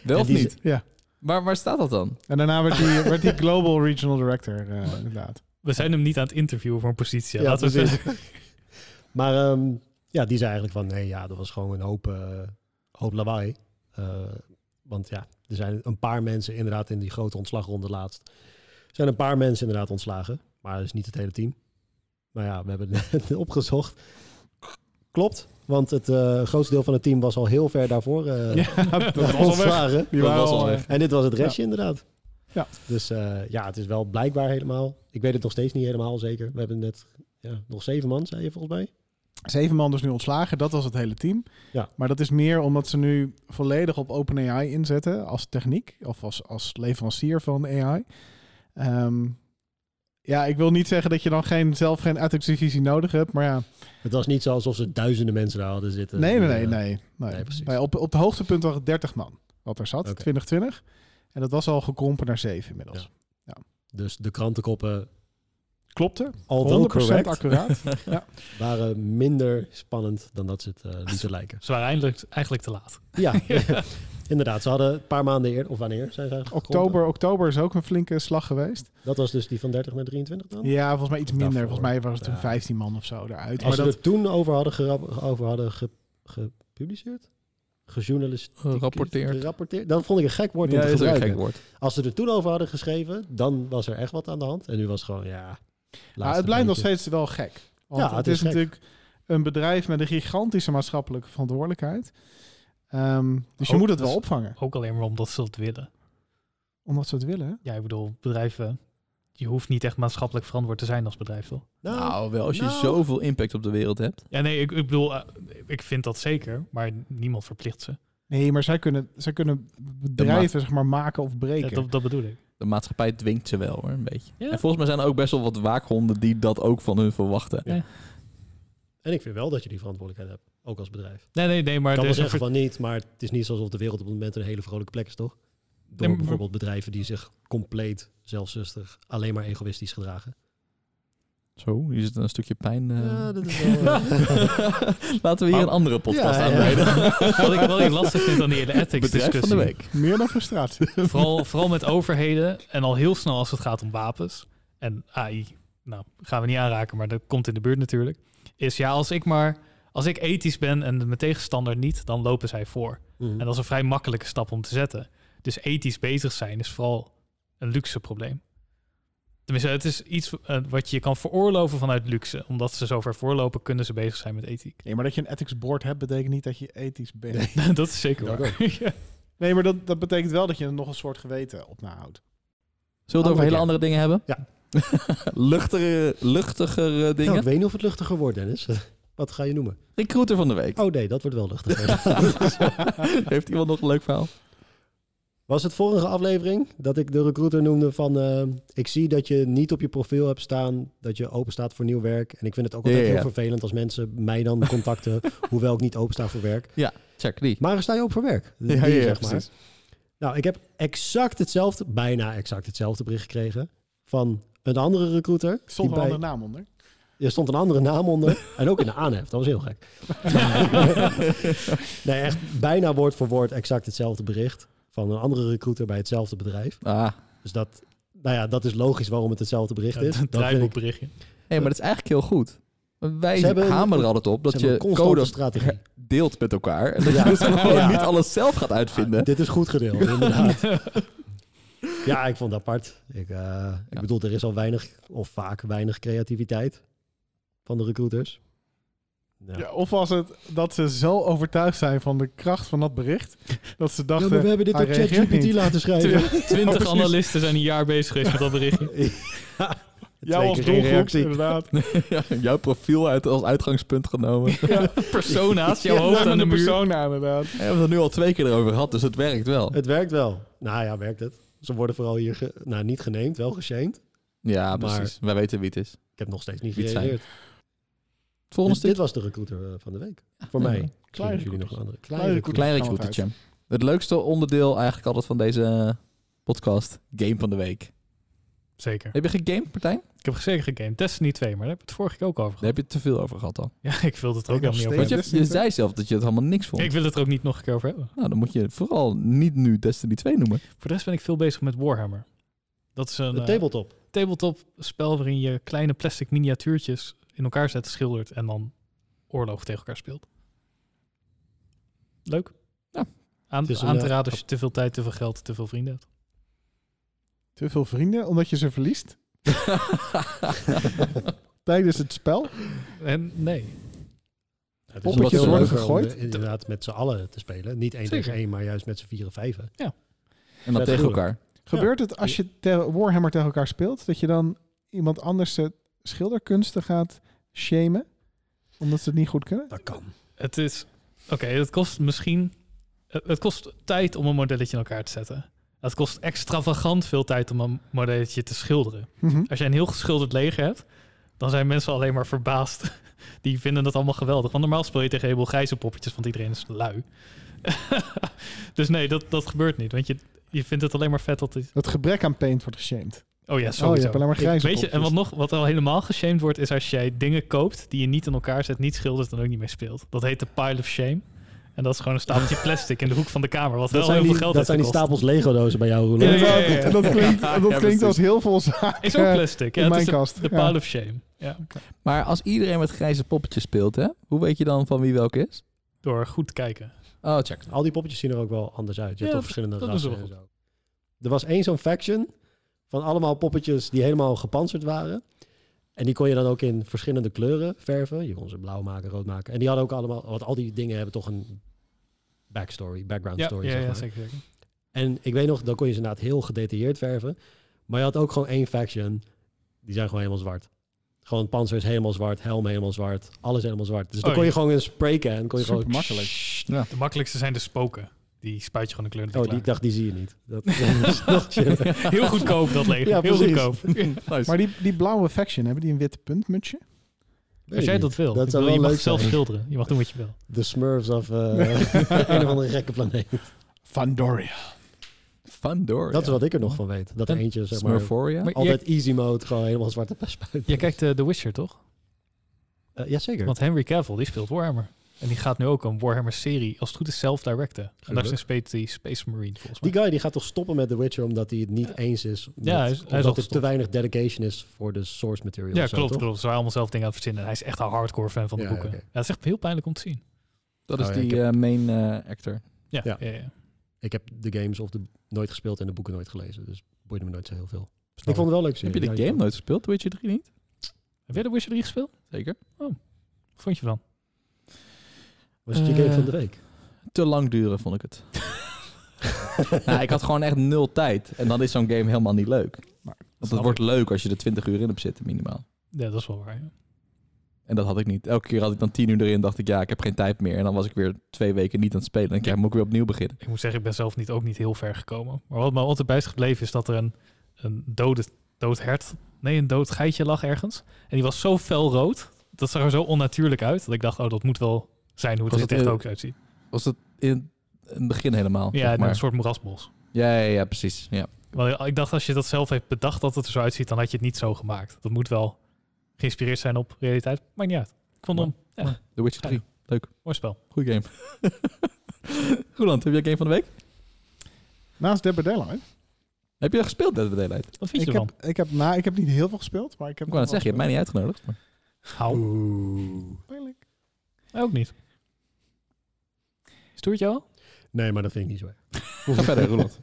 B: Wel
D: En
B: of
D: die-
B: niet?
E: Ja.
B: Maar waar staat dat dan?
E: En daarna werd die, werd die Global Regional Director, eh, inderdaad.
C: We zijn hem niet aan het interviewen voor een positie.
D: Ja,
C: Laten we
D: precies.
C: zeggen.
D: Maar ehm, ja, die zei eigenlijk van nee, ja, dat was gewoon een hoop, eh, hoop lawaai. Eh, want ja, er zijn een paar mensen inderdaad in die grote ontslagronde laatst. Er zijn een paar mensen inderdaad ontslagen, maar dat is niet het hele team. Maar ja, we hebben het opgezocht. Klopt, want het eh, grootste deel van het team was al heel ver daarvoor eh,
E: ja, dat was al weg.
D: ontslagen.
E: Die
B: Dat
E: waren
B: was
E: al,
B: al
E: eh,
B: weg.
D: En dit was het restje inderdaad.
E: Ja.
D: Dus eh, ja, het is wel blijkbaar helemaal. Ik weet het nog steeds niet helemaal zeker. We hebben net ja, nog zeven man, zei je volgens mij.
E: Zeven man dus nu ontslagen, dat was het hele team.
D: Ja.
E: Maar dat is meer omdat ze nu volledig op OpenAI inzetten als techniek of als, als leverancier van AI. Ehm, ja, ik wil niet zeggen dat je dan geen, zelf geen ethics divisie nodig hebt, maar ja.
D: Het was niet zo alsof ze duizenden mensen daar hadden zitten.
E: Nee, nee,
D: Eh,
E: nee. nee, nee.
D: nee, precies.
E: Bij- op, op het hoogtepunt was het 30 man wat er zat,
D: Oké.
E: 2020. En dat was al gekrompen naar zeven inmiddels.
D: Dus de krantenkoppen,
E: Klopte, 100%
D: al wel correct,
E: accuraat.
D: waren minder spannend dan dat ze het eh lieten lijken.
C: Ze waren eindelijk, eigenlijk te laat.
D: Ja, inderdaad. Ze hadden een paar maanden eerder, of wanneer zijn ze eigenlijk gekrompen?
E: Oktober, oktober is ook een flinke slag geweest.
D: Dat was dus die van 30 naar 23 dan?
E: Ja, volgens mij iets
D: Of
E: minder.
D: daarvoor.
E: Volgens mij was het toen
D: Ja.
E: 15 man of zo eruit.
D: Als
E: Maar
D: ze
E: dat,
D: er toen over hadden, gerap- over hadden ge- gepubliceerd? Gejournaliseerd?
B: Gerapporteerd.
D: Gerapporteerd? Dat vond ik een gek woord om
B: Ja,
D: te
B: dat is ook een
D: gebruiken.
B: gek woord.
D: Als ze er toen over hadden geschreven, dan was er echt wat aan de hand. En nu was het gewoon, ja...
E: Maar
D: laatste
E: het blijft nog
D: minuutje.
E: steeds wel gek. Want
D: Ja,
E: het,
D: het
E: is,
D: is gek.
E: natuurlijk een bedrijf met een gigantische maatschappelijke verantwoordelijkheid. Ehm, dus je
C: Ook-
E: moet het wel
C: dus-
E: opvangen,
C: Ook alleen maar omdat ze dat willen.
E: omdat ze het willen.
C: Ja, ik bedoel, bedrijven... Je hoeft niet echt maatschappelijk verantwoord te zijn als bedrijf, toch?
B: Nou, wel als je
D: nou.
B: zoveel impact op de wereld hebt.
C: Ja, nee, ik, ik bedoel, eh, ik vind dat zeker. Maar niemand verplicht ze.
E: Nee, maar zij kunnen, zij kunnen bedrijven zeg maar, maken of
C: Ja,
E: breken.
C: dat, dat bedoel ik.
B: De maatschappij dwingt ze wel hoor, een beetje.
C: Ja.
B: En volgens mij zijn er ook best wel wat waakhonden die dat ook van hun verwachten.
D: En ik vind wel dat je die verantwoordelijkheid hebt, ook als bedrijf.
C: Nee, nee, nee, maar...
D: Ik kan wel
C: dus, er is een
D: zeggen
C: ver-
D: van niet, maar het is niet alsof de wereld op het moment een hele vrolijke plek is, toch? Door
C: Nee, maar-
D: bijvoorbeeld bedrijven die zich compleet zelfzustig, alleen maar egoïstisch gedragen.
B: Zo, hier zit een stukje pijn. eh.
D: Ja, dat is wel, eh,
B: Laten we hier
C: Oh.
B: een andere podcast
D: Ja, ja.
B: aan wijden.
C: Wat ik wel heel lastig vind aan die hele
B: Bedrijf van de
C: ethics-discussie.
B: week.
E: Meer dan frustratie.
C: Vooral, vooral met overheden en al heel snel als het gaat om wapens. En AI, nou, gaan we niet aanraken, maar dat komt in de buurt natuurlijk. Is ja, als ik maar, als ik ethisch ben en mijn tegenstander niet, dan lopen zij voor.
D: mhm.
C: En dat is een vrij makkelijke stap om te zetten. Dus ethisch bezig zijn is vooral een luxe probleem. Tenminste, het is iets eh, wat je kan veroorloven vanuit luxe. Omdat ze zo ver voorlopen, kunnen ze bezig zijn met ethiek.
E: Nee, maar dat je een ethics board hebt, betekent niet dat je ethisch bent. Nee,
C: dat is zeker
D: Dat
C: waar. Ja.
E: maar dat, dat betekent wel dat je er nog een soort geweten op nahoudt.
B: Zullen we het over hele
E: keer.
B: andere dingen hebben?
E: Ja.
B: Luchtigere, luchtigere dingen.
D: Nou, ik weet niet of het luchtiger wordt, Dennis. Wat ga je noemen?
B: Recruiter van de week.
D: Oh nee, dat wordt wel luchtiger.
B: Heeft iemand nog een leuk verhaal?
D: Was het vorige aflevering dat ik de recruiter noemde van... eh, ik zie dat je niet op je profiel hebt staan dat je open staat voor nieuw werk. En ik vind het ook altijd
B: Ja, ja,
D: heel
B: ja.
D: vervelend als mensen mij dan contacten... hoewel ik niet open sta voor werk.
B: Check die.
D: Maar sta je open voor werk? Die,
B: ja, ja,
D: zeg maar.
B: precies.
D: Nou, ik heb exact hetzelfde, bijna exact hetzelfde bericht gekregen... van een andere recruiter.
E: Er Stond
D: die
E: er wel
D: bij-
E: een naam onder.
D: Er stond een andere naam onder. En ook in de aanhef. Dat was heel gek. nee, echt bijna woord voor woord exact hetzelfde bericht. Van een andere recruiter bij hetzelfde bedrijf.
B: Ah.
D: Dus dat, nou ja, dat is logisch waarom het hetzelfde bericht
C: Ja,
D: is.
C: een
D: Dat vind ik,
C: draaiboekberichtje.
B: Hé, maar dat is eigenlijk heel goed. Wij
D: Ze hebben-
B: hameren er altijd op dat
D: ze hebben
B: je
D: een constante
B: codes
D: strategie.
B: deelt met elkaar. En dat
D: Ja.
B: je dus gewoon
D: Ja.
B: niet alles zelf gaat uitvinden.
D: Dit is goed gedeeld, inderdaad. ja, ik vond het apart. Ik, eh, ik bedoel, er is al weinig, of vaak weinig creativiteit van de recruiters. Ja.
E: Ja, of was het dat ze zo overtuigd zijn van de kracht van dat bericht, dat ze
D: Ja,
E: dachten...
D: maar we hebben dit
E: hij
D: op
E: reageert
D: ChatGPT
E: niet.
D: laten schrijven.
C: Tw- Twintig
E: precies.
C: analisten zijn een jaar bezig geweest met dat berichtje.
E: Jou als
D: geen
E: doelgroep, inderdaad.
B: Ja, jouw profiel uit, als uitgangspunt genomen.
C: Persona's, jouw
E: Ja,
C: hoofd aan de muur.
E: persoon aan, Oh, nou, inderdaad.
B: We hebben het er nu al twee keer over gehad, dus het werkt wel.
D: Het werkt wel. Nou ja, werkt het. Ze worden vooral hier ge- nou, niet geneemd, wel geshamed.
B: Ja,
D: Maar-
B: precies. Wij weten wie het is.
D: Ik heb nog steeds niet
B: Niet zijn.
D: gereageerd.
B: Het volgende stuk.
D: Dus dit was de recruiter eh, van de week. Voor
B: Ja,
D: mij.
B: ja.
D: Misschien hebben jullie nog
E: recruiter.
D: een andere.
E: Kleine recruiter.
B: Klein
E: Gaan we
B: recruitertje. Het leukste onderdeel eigenlijk altijd van deze podcast. Game van de week.
C: Zeker.
B: Heb je gegamed, Partijn?
C: Ik heb zeker gegamed. Destiny 2, maar daar heb ik het vorige keer ook over
B: Daar heb
C: gehad.
B: je het te veel over gehad al.
C: Ja, ik wil het er ook
E: Ik
C: nog
E: nog steeds.
C: niet over
B: Want
C: hebben.
B: je,
E: Destiny
B: je
E: twee.
B: zei zelf dat je het helemaal niks vond.
C: Ik wil het er ook niet nog een keer over hebben.
B: Nou, dan moet je vooral niet nu Destiny 2 noemen.
C: Voor de rest ben ik veel bezig met Warhammer. Dat is een
D: De
C: eh,
D: tabletop.
C: tabletop spel waarin je kleine plastic miniatuurtjes in elkaar zet, schildert en dan oorlog tegen elkaar speelt. Leuk.
B: Ja.
C: Aan,
D: Het is een,
C: aan te
D: eh,
C: raden als je te veel tijd, te veel geld, te veel vrienden hebt.
E: Te veel vrienden, omdat je ze verliest tijdens het spel.
C: En nee.
D: Het
E: Op
D: ook
B: het
D: veel
B: worden
D: leuker om
E: gegooid.
D: de- Inderdaad, met z'n allen te spelen. Niet één
C: Zeker.
D: tegen één, maar juist met z'n vieren vijven.
B: En dan
D: Vet
B: tegen
D: gruwelijk.
B: elkaar.
E: Gebeurt het als je te- Warhammer tegen elkaar speelt, dat je dan iemand anders eh, schilderkunsten gaat shamen? Omdat ze het niet goed kunnen?
D: Dat kan.
C: Het is. Oké, het kost misschien. Het het kost tijd om een modelletje in elkaar te zetten. Het kost extravagant veel tijd om een modelletje te schilderen.
E: Mhm.
C: Als jij een heel geschilderd leger hebt, dan zijn mensen alleen maar verbaasd. Die vinden dat allemaal geweldig. Want normaal speel je tegen een heleboel grijze poppetjes, want iedereen is lui. dus nee, dat, dat gebeurt niet. Want je, je vindt het alleen maar vet dat... Het...
E: Het gebrek aan paint wordt geshamed.
C: Oh ja,
E: Oh, je
C: sowieso.
E: hebt alleen maar grijze
C: Weet je, en
E: kopjes.
C: wat nog, wat al helemaal geshamed wordt, is als jij dingen koopt die je niet in elkaar zet, niet schildert en ook niet mee speelt. Dat heet de pile of shame. En dat is gewoon een stapeltje plastic in de hoek van de kamer,
D: Dat
C: wat wel heel
D: zijn,
C: veel
D: die,
C: geld
D: dat zijn die
C: heeft gekost.
D: stapels Lego-dozen bij jou, Roland.
C: Ja, ja, ja, ja.
E: Dat- Dat klinkt,
B: Ja,
E: dat
B: ja,
E: klinkt als
B: precies.
E: heel veel zaken
C: Is ook plastic.
E: in
C: Ja, het
E: mijn
C: is de,
E: kast.
C: de
E: Ja.
C: pile of shame. Ja.
B: Maar als iedereen met grijze poppetjes speelt, hè? Hoe weet je dan van wie welke is?
C: Door goed te kijken.
B: Oh, check.
D: Al die poppetjes zien er ook wel anders uit. Je
C: Ja,
D: hebt al
C: dat-
D: verschillende
C: dat
D: rassen
C: is wel
D: en zo. Er was één zo'n faction van allemaal poppetjes die helemaal gepantserd waren. En die kon je dan ook in verschillende kleuren verven. Je kon ze blauw maken, rood maken. En die hadden ook allemaal, want al die dingen hebben toch een backstory, background
C: Ja,
D: story.
C: ja,
D: zeg
C: ja,
D: maar.
C: zeker. zeker.
D: En ik weet nog, dan kon je ze inderdaad heel gedetailleerd verven. Maar je had ook gewoon één faction, die zijn gewoon helemaal zwart. Gewoon panzer is helemaal zwart, helm helemaal zwart, alles helemaal zwart. Dus dan
C: Oh,
D: kon je
C: ja.
D: gewoon een spraycan, kon je gewoon...
B: Super makkelijk.
C: De makkelijkste zijn de spoken. Die spuit je gewoon een kleur in de
D: Oh, die, ik
C: klaar.
D: dacht, die zie je niet. Dat is nog chiller.
C: Heel goedkoop dat leger.
D: Ja,
C: Heel
D: precies.
C: goedkoop.
E: Maar die, die blauwe faction, hebben die een witte puntmutsje?
C: Als jij dat wil.
D: Dat
C: Ik
D: zou
C: bedoel,
D: wel
C: je mag
D: leuk
C: zelf
D: zijn.
C: schilderen. Je mag doen wat je wil.
D: De Smurfs of eh, een of andere gekke planeet.
E: Vandoria.
B: Fandoria.
D: Dat is wat ik er nog van weet. Dat er
C: En
D: eentje, zeg maar,
B: Smurforia?
C: Maar
D: altijd easy mode, gewoon helemaal zwarte pest spuit.
C: Jij kijkt eh, The Witcher, toch?
D: Eh, Jazeker.
C: Want Henry Cavill, die speelt Warhammer. En die gaat nu ook een Warhammer-serie, als het goed is, self-directen. En daar is
D: Gelukkig.
C: een spe- die Space Marine, volgens mij.
D: Die guy die gaat toch stoppen met The Witcher omdat hij het niet
C: Ja.
D: eens is. Met,
C: hij is- hij is al
D: omdat er te
C: gestopt.
D: weinig dedication is voor de source material.
C: Ja,
D: of zo,
C: klopt,
D: toch?
C: klopt. Ze waren allemaal zelf dingen aan het verzinnen. En hij is echt een hardcore fan van de
D: Ja,
C: boeken.
D: oké.
C: Ja, dat is echt heel pijnlijk om te zien.
B: Dat is
D: Oh ja,
B: die
D: ik heb-
B: eh, main eh, actor.
C: Ja, ja.
D: Ja.
C: ja,
D: Ik heb de games of de, nooit gespeeld en de boeken nooit gelezen. Dus boeide me nooit zo heel veel.
C: Snap
D: Ik vond het wel een leuk.
B: Heb je
D: serie,
B: de
D: ja,
B: game
D: ik-
B: nooit gespeeld? Witcher 3 niet?
C: Heb jij The Witcher 3 gespeeld?
B: Zeker.
C: Wat vond je van?
D: Was het je game
B: Eh,
D: van de week?
B: Te lang duren, vond ik het. nou, ik had gewoon echt nul tijd. En dan is zo'n game helemaal niet leuk.
E: Maar,
B: Want
C: snap
B: het wordt leuk als je er 20 uur in hebt zitten, minimaal.
C: Ja, dat is wel waar. ja.
B: En dat had ik niet. Elke keer had ik dan 10 uur erin dacht ik, ja, ik heb geen tijd meer. En dan was ik weer twee weken niet aan het spelen. En dan ja, moet ik weer opnieuw beginnen.
C: Ik moet zeggen, ik ben zelf niet, ook niet heel ver gekomen. Maar wat me altijd bij is gebleven is dat er een, een dode, dood hert, nee, een dood geitje lag ergens. En die was zo fel rood, dat zag er zo onnatuurlijk uit, dat ik dacht, oh, dat moet wel zijn hoe het
B: Was
C: er in
B: het,
C: het echt
B: eh,
C: ook uitziet.
B: Was het in het begin helemaal?
C: Ja,
B: zeg
C: en een
B: maar.
C: soort moerasbos.
B: ja, ja, ja, precies. Ja.
C: Want ik dacht, als je dat zelf heeft bedacht dat het er zo uitziet, dan had je het niet zo gemaakt. Dat moet wel geïnspireerd zijn op realiteit. Maakt niet uit. Ik vond hem een
B: The Witcher 3.
C: mooi spel.
B: Goeie game. Roland, heb jij game van de week?
E: Naast Dead by Daylight.
B: Heb je dat gespeeld, Dead by Daylight?
C: Wat vind
E: Ik
C: je ervan?
E: heb, ik, heb, nou, ik heb niet heel veel gespeeld, maar ik heb...
B: Ik wou net zeggen, je hebt mij niet uitgenodigd. maar-
C: Hou.
E: Pijnlijk.
C: Ook niet. Stoert jou al?
D: Nee, maar dat vind ik niet zo erg.
B: Ga verder, Roland.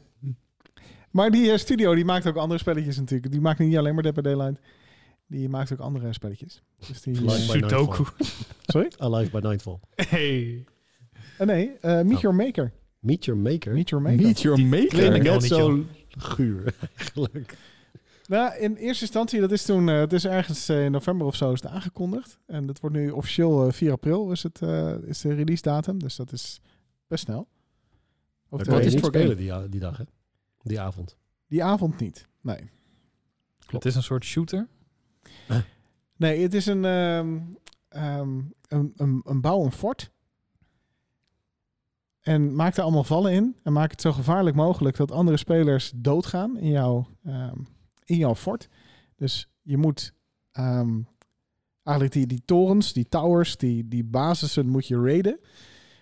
E: Maar die eh, studio die maakt ook andere spelletjes natuurlijk. Die maakt niet alleen maar Dead by Daylight. Die maakt ook andere spelletjes. Dus die,
D: Like
E: eh,
D: by Nightfall.
C: Sudoku.
E: sorry?
D: Alive by Nightfall.
C: Hey.
E: Eh, nee, eh Meet Your Maker.
D: Meet Your Maker.
E: Meet Your Maker.
B: Meet your
D: Klinkt
C: Klinkt
B: maker.
C: wel
D: net
C: niet,
D: zo guur eigenlijk.
E: Nou, in eerste instantie, dat is toen, eh, het is ergens eh, in november of zo is het aangekondigd. En dat wordt nu officieel eh, 4 april is, het, eh, is de release datum. Dus dat is best snel. Of
D: Dat
E: de-
D: kon je
B: is
D: niet
B: het voor
D: spelen die, eh, die dag, hè? Die avond.
E: die avond niet. Nee.
C: Het is een soort shooter.
E: Nee, het is een, ehm, ehm, een, een, een bouw een fort. En maak er allemaal vallen in. En maak het zo gevaarlijk mogelijk dat andere spelers doodgaan in jouw, ehm, in jouw fort. Dus je moet ehm, eigenlijk die, die torens, die towers, die, die basissen moet je raiden.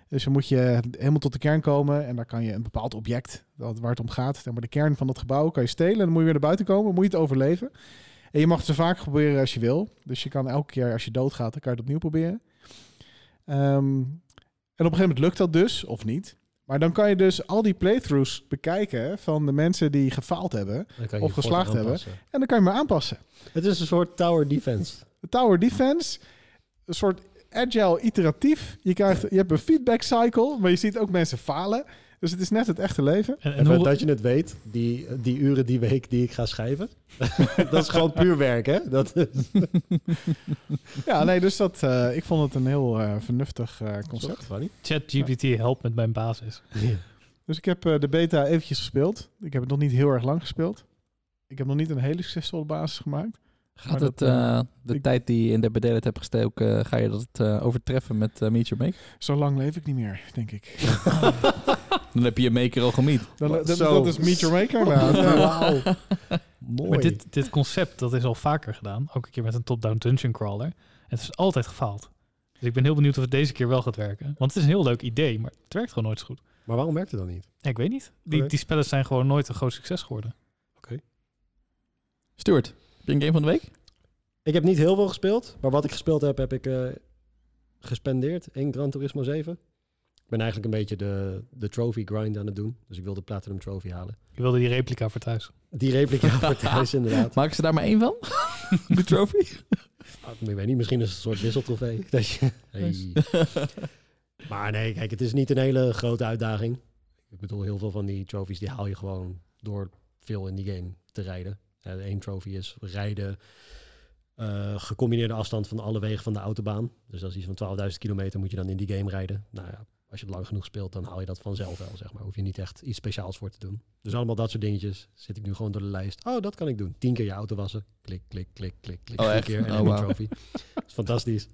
E: Dus dan moet je helemaal tot de kern komen. En daar kan je een bepaald object, dat, waar het om gaat, zeg maar de kern van dat gebouw, kan je stelen. En dan moet je weer naar buiten komen, moet je het overleven. En je mag het zo vaak proberen als je wil. Dus je kan elke keer als je doodgaat, dan kan je het opnieuw proberen. Ehm, en op een gegeven moment lukt dat dus, of niet. Maar dan kan je dus al die playthroughs bekijken van de mensen die gefaald hebben.
D: Dan kan je
E: Of
D: je fort
E: geslaagd hebben.
D: aanpassen.
E: En dan kan je maar aanpassen.
D: Het is een soort tower defense.
E: De tower defense, een soort agile iteratief. Je, krijgt, je hebt een feedback cycle, maar je ziet ook mensen falen. Dus het is net het echte leven.
C: En, en
D: En
C: hoe-
D: dat je het weet, die, die uren die week die ik ga schrijven. dat is gewoon puur werk, hè? Dat is
E: Ja, nee, dus dat, eh, ik vond het een heel eh, vernuftig eh, concept.
D: gewoon niet.
C: ChatGPT helpt met mijn basis.
E: Dus ik heb eh, de beta eventjes gespeeld. Ik heb het nog niet heel erg lang gespeeld. Ik heb nog niet een hele succesvolle basis gemaakt.
B: Gaat
E: Maar
B: het,
E: dat, eh,
B: eh, de
E: ik-
B: tijd die je in Dead by Daylight hebt gestoken, eh, ga je dat eh, overtreffen met eh, Meet Your Maker?
E: Zo lang leef ik niet meer, denk ik.
B: Dan heb je je maker al gemiet.
E: Dan,
D: Wat?
E: dat-
D: Zo.
E: dat is Meet Your Maker. Nou,
D: Wauw. Mooi.
C: Maar dit, dit concept, dat is al vaker gedaan. Ook een keer met een top-down dungeon crawler. En het is altijd gefaald. Dus ik ben heel benieuwd of het deze keer wel gaat werken. Want het is een heel leuk idee, maar het werkt gewoon nooit zo goed.
D: Maar waarom werkt het dan niet?
C: Ja, ik weet niet. Die,
D: Oké.
C: die spellen zijn gewoon nooit een groot succes geworden.
B: Stuart, heb je een game van de week?
D: Ik heb niet heel veel gespeeld, maar wat ik gespeeld heb, heb ik eh, gespendeerd in Gran Turismo 7. Ik ben eigenlijk een beetje de, de trophy grind aan het doen. Dus ik wil de Platinum Trophy halen.
C: Je wilde die replica voor thuis.
D: Die replica voor thuis inderdaad.
B: Maken ze daar maar één van? De trophy?
D: Ik weet niet, misschien is het een soort wisseltrofee. Dat je- Hey. Maar nee, kijk, het is niet een hele grote uitdaging. Ik bedoel, heel veel van die trophies die haal je gewoon door veel in die game te rijden. Eén trophy is rijden eh, gecombineerde afstand van alle wegen van de autobaan. Dus dat is iets van 12.000 kilometer moet je dan in die game rijden. Nou ja, als je het lang genoeg speelt, dan haal je dat vanzelf wel, zeg maar. Hoef je niet echt iets speciaals voor te doen. Dus allemaal dat soort dingetjes zit ik nu gewoon door de lijst. Oh, dat kan ik doen. Tien keer je auto wassen. Klik, klik, klik, klik, klik.
B: Oh,
D: Tien
B: echt?
D: keer en
B: Oh,
D: heb je een
B: wauw.
D: trophy. Dat is fantastisch.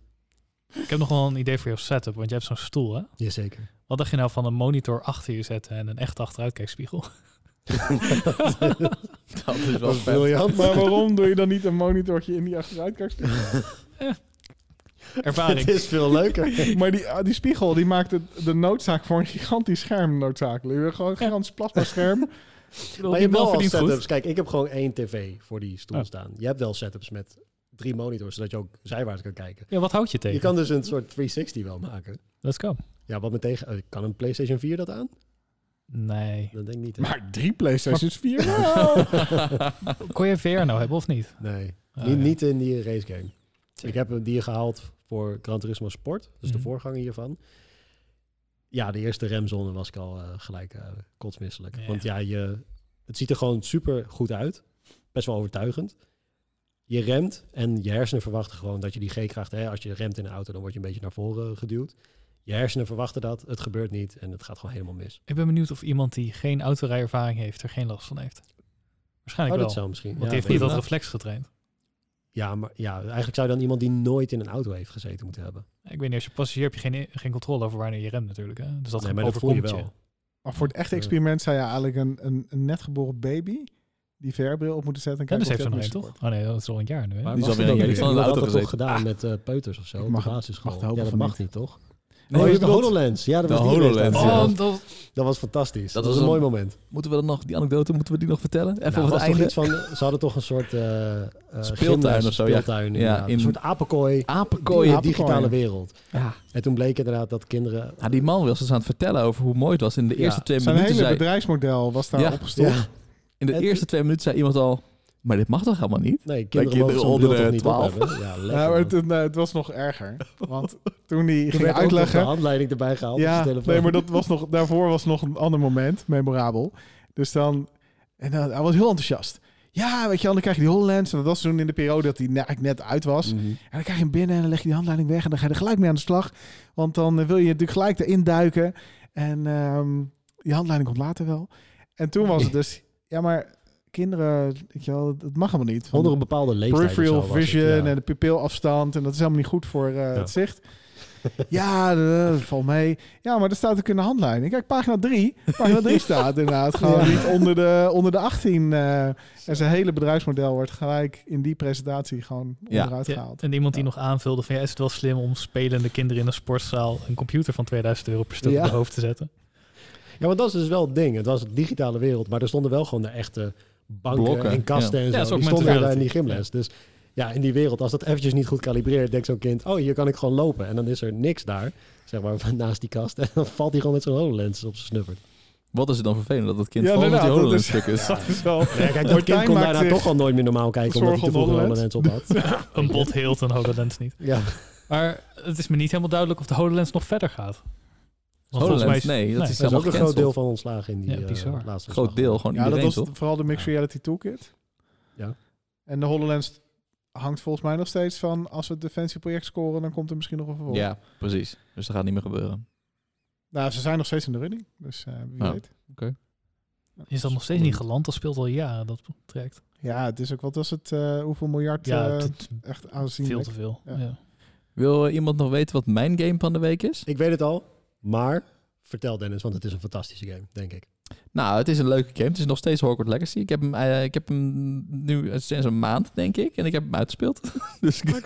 C: Ik heb nog wel een idee voor jouw setup, want je hebt zo'n stoel, hè?
D: Jazeker.
C: Wat dacht je nou van een monitor achter je zetten en een echt achteruitkijkspiegel?
B: Dat is Dus wel
D: Dat is
B: vet.
D: briljant.
E: Maar waarom doe je dan niet een monitortje in die achteruitkast?
D: Het
C: Ervaring.
D: is veel leuker.
E: Maar die, ah, die spiegel die maakt het, de noodzaak voor een gigantisch scherm noodzakelijk. Je wil Gewoon een gigantisch plasmascherm.
D: Maar je hebt wel al
C: verdient
D: setups.
C: goed.
D: Kijk, ik heb gewoon één tv voor die stoel
C: Ja.
D: staan. Je hebt wel setups met drie monitors, zodat je ook zijwaarts kan kijken.
C: Ja, wat houd je tegen?
D: Je kan dus een soort 360 wel maken.
C: Let's go.
D: Ja, wat me tegen... eh, Kan een PlayStation 4 dat aan?
C: Nee.
D: Dat denk ik niet. hè?
E: Maar drie PlayStations 4.
C: Kon je VR nou hebben of niet?
D: Nee,
C: Ah,
D: niet,
C: ja.
D: niet in die race game. Ik heb hem die gehaald voor Gran Turismo Sport. Dus de
C: Mhm.
D: voorganger hiervan. Ja, de eerste remzone was ik al eh, gelijk eh, kotsmisselijk.
C: Ja.
D: Want ja, je, het ziet er gewoon super goed uit. Best wel overtuigend. Je remt en je hersenen verwachten gewoon dat je die G-kracht... Hè, als je remt in een auto, dan word je een beetje naar voren geduwd. Je hersenen verwachten dat. Het gebeurt niet en het gaat gewoon helemaal mis.
C: Ik ben benieuwd of iemand die geen autorijervaring heeft er geen last van heeft.
D: oh,
C: Waarschijnlijk
D: dat
C: wel.
D: zou misschien...
C: Want
D: ja,
C: die heeft
D: weet
C: niet
D: ik
C: dat
D: niet.
C: reflex getraind.
D: Ja, maar ja, eigenlijk zou je dan iemand die nooit in een auto heeft gezeten moeten hebben.
C: Ik weet niet, als je passagier heb je geen, geen controle over wanneer je remt natuurlijk. Hè? Dus dat
D: nee, maar dat voel
C: overkomt
D: je
C: je.
D: wel.
E: Maar voor het echte experiment zou je eigenlijk een, een, een net geboren baby die VR-bril op moeten zetten. En
C: Ja,
E: kijken
C: dus heeft
E: of
C: ze
E: die
C: nog
E: ook
C: eens,
E: mislukt
C: toch? Oh nee, dat is al een jaar nu. Hè?
D: Maar
B: Die
D: mag
B: zal weer
D: dat
B: een
D: ook
B: jaar
D: niet?
B: van in de
D: Ik had
B: auto
D: dat toch
B: gezeten.
D: gedaan met eh, peuters of zo?
E: Ik
D: op de
E: mag-
D: basisschool.
E: mag de hoop
D: ja, dat
E: van
D: mag
E: niet.
D: niet, toch?
B: Nee,
D: oh,
B: je
D: je de
B: bedoelt-
D: HoloLens. Ja, dat
B: De
D: was die race
B: HoloLens,
D: daar.
B: ja.
D: dat,
C: Oh,
D: was,
C: dat...
D: dat was fantastisch. Dat,
B: Dat
D: was
B: was
D: een mooi
B: een-
D: moment.
B: Moeten we dan nog, die anekdote, moeten we die nog vertellen? Even
D: Nou,
B: op
D: was
B: het
D: toch
B: einde.
D: iets van, ze hadden toch een soort... eh, eh,
B: Speeltuin
D: gymnast-
B: of zo, ja.
D: Speeltuin,
B: Ja,
D: inderdaad.
B: in-
D: Een soort apenkooi.
B: Apenkooi.
D: in de digitale
E: Apenkooien.
D: wereld.
B: Ja.
D: En toen bleek inderdaad dat kinderen...
B: Nou, die man was dus aan het vertellen over hoe mooi het was. In de
D: Ja,
B: eerste twee
E: Zijn
B: minuten
E: hele
B: zei,
E: bedrijfsmodel was daar
B: Ja.
E: opgestopt.
D: Ja,
B: in de
D: het-
B: eerste twee minuten zei iemand al, maar dit mag toch helemaal niet?
D: nee, kinderen,
B: kinderen
D: mogen zo'n
B: onder
D: bril
B: de
D: toch niet op
B: 12.
D: hebben. Ja, lekker.
E: Ja, maar
D: man.
E: het, eh, het was nog erger. Want toen die ging
D: Toen werd ook nog de
E: uitleggen...
D: handleiding erbij gehaald op
E: Ja,
D: zijn telefoon.
E: nee, maar dat was nog, daarvoor was nog een ander moment, memorabel. Dus dan, en dan, hij was heel enthousiast. Ja, weet je wel, dan krijg je die HoloLens. En dat was toen in de periode dat hij ne- eigenlijk net uit was.
D: Mhm.
E: En dan krijg je hem binnen en dan leg je die handleiding weg. En dan ga je er gelijk mee aan de slag. Want dan eh, wil je natuurlijk gelijk erin duiken. En ehm, die handleiding komt later wel. En toen was het dus, ja, maar kinderen, weet je wel, dat mag helemaal niet. Want
D: Onder een bepaalde leeftijd. of
E: peripheral
D: zo was het,
E: vision
D: ja.
E: en de pupilafstand. En dat is helemaal niet goed voor eh, het zicht. ja, eh, dat valt mee. Ja, maar dat staat ook in de handleiding. Kijk, pagina 3. Pagina 3 staat inderdaad gewoon niet onder de, onder de 18. eh. en zijn hele bedrijfsmodel wordt gelijk in die presentatie gewoon
B: Ja.
E: onderuit
C: Ja,
E: gehaald.
C: en iemand die
E: Ja.
C: nog aanvulde van ja, is het wel slim om spelende kinderen in een sportzaal een computer van 2000 euro per stuk
D: Ja.
C: op de hoofd te zetten?
D: Ja, want dat is dus wel het ding. Het was een digitale wereld, maar er stonden wel gewoon de echte banken
B: Blokken,
D: en kasten en
C: Ja,
D: zo.
C: dat is ook
D: die stonden daar in die
C: mentality.
D: gymles. Dus ja, in die wereld, als dat eventjes niet goed kalibreert, denkt zo'n kind, oh, hier kan ik gewoon lopen. En dan is er niks daar, zeg maar, van naast die kast. En dan valt hij gewoon met zo'n HoloLens op zijn snuffert.
B: Wat is het dan vervelend dat het kind
E: Ja,
B: ja, met die
E: inderdaad,
B: holen
E: dat
B: een
E: is-
B: stuk is?
E: Dat is wel...
D: Ja, kijk, dat
E: Martijn
D: kind kon
E: maakt
D: daarna
E: zich
D: toch al nooit meer normaal kijken, omdat hij
E: zorgen
D: te vroeg
E: om
D: een
E: de
D: HoloLens op had.
C: Een bot heelt een HoloLens niet.
D: Ja,
C: Maar het is me niet helemaal duidelijk of de HoloLens nog verder gaat. Want volgens mij
B: HoloLens, nee, dat is
C: nee,
D: dat is
B: helemaal
D: ook een groot
B: gecanceld.
D: deel van ontslagen in die
C: Ja,
D: eh,
C: bizar.
D: laatste
B: Groot
D: ontslag.
B: deel, gewoon
E: Ja, dat
B: iedereen
E: was
B: toch?
E: vooral de Mixed Reality Toolkit.
D: Ja.
E: En de HoloLens hangt volgens mij nog steeds van... als we het defensieproject scoren, dan komt er misschien nog een vervolg.
B: Ja, precies. Dus dat gaat niet meer gebeuren.
E: Nou, ze zijn nog steeds in de running. Dus eh, wie
B: Ja.
E: weet.
C: is dat nog steeds niet geland. Dat speelt al jaren, dat traject.
E: Ja, het is ook wat was het, eh, hoeveel miljard
C: Ja,
E: eh,
C: het is
E: echt
C: veel
E: aanzienlijk.
C: te veel.
E: Ja.
C: Ja.
B: Wil eh, iemand nog weten wat mijn game van de week is?
D: Ik weet het al, maar vertel Dennis, want het is een fantastische game, denk ik.
B: Nou, het is een leuke game. Het is nog steeds Hogwarts Legacy. Ik heb hem, eh, ik heb hem nu eh, sinds een maand, denk ik. En ik heb hem uitgespeeld. dus
E: Oh
B: ik,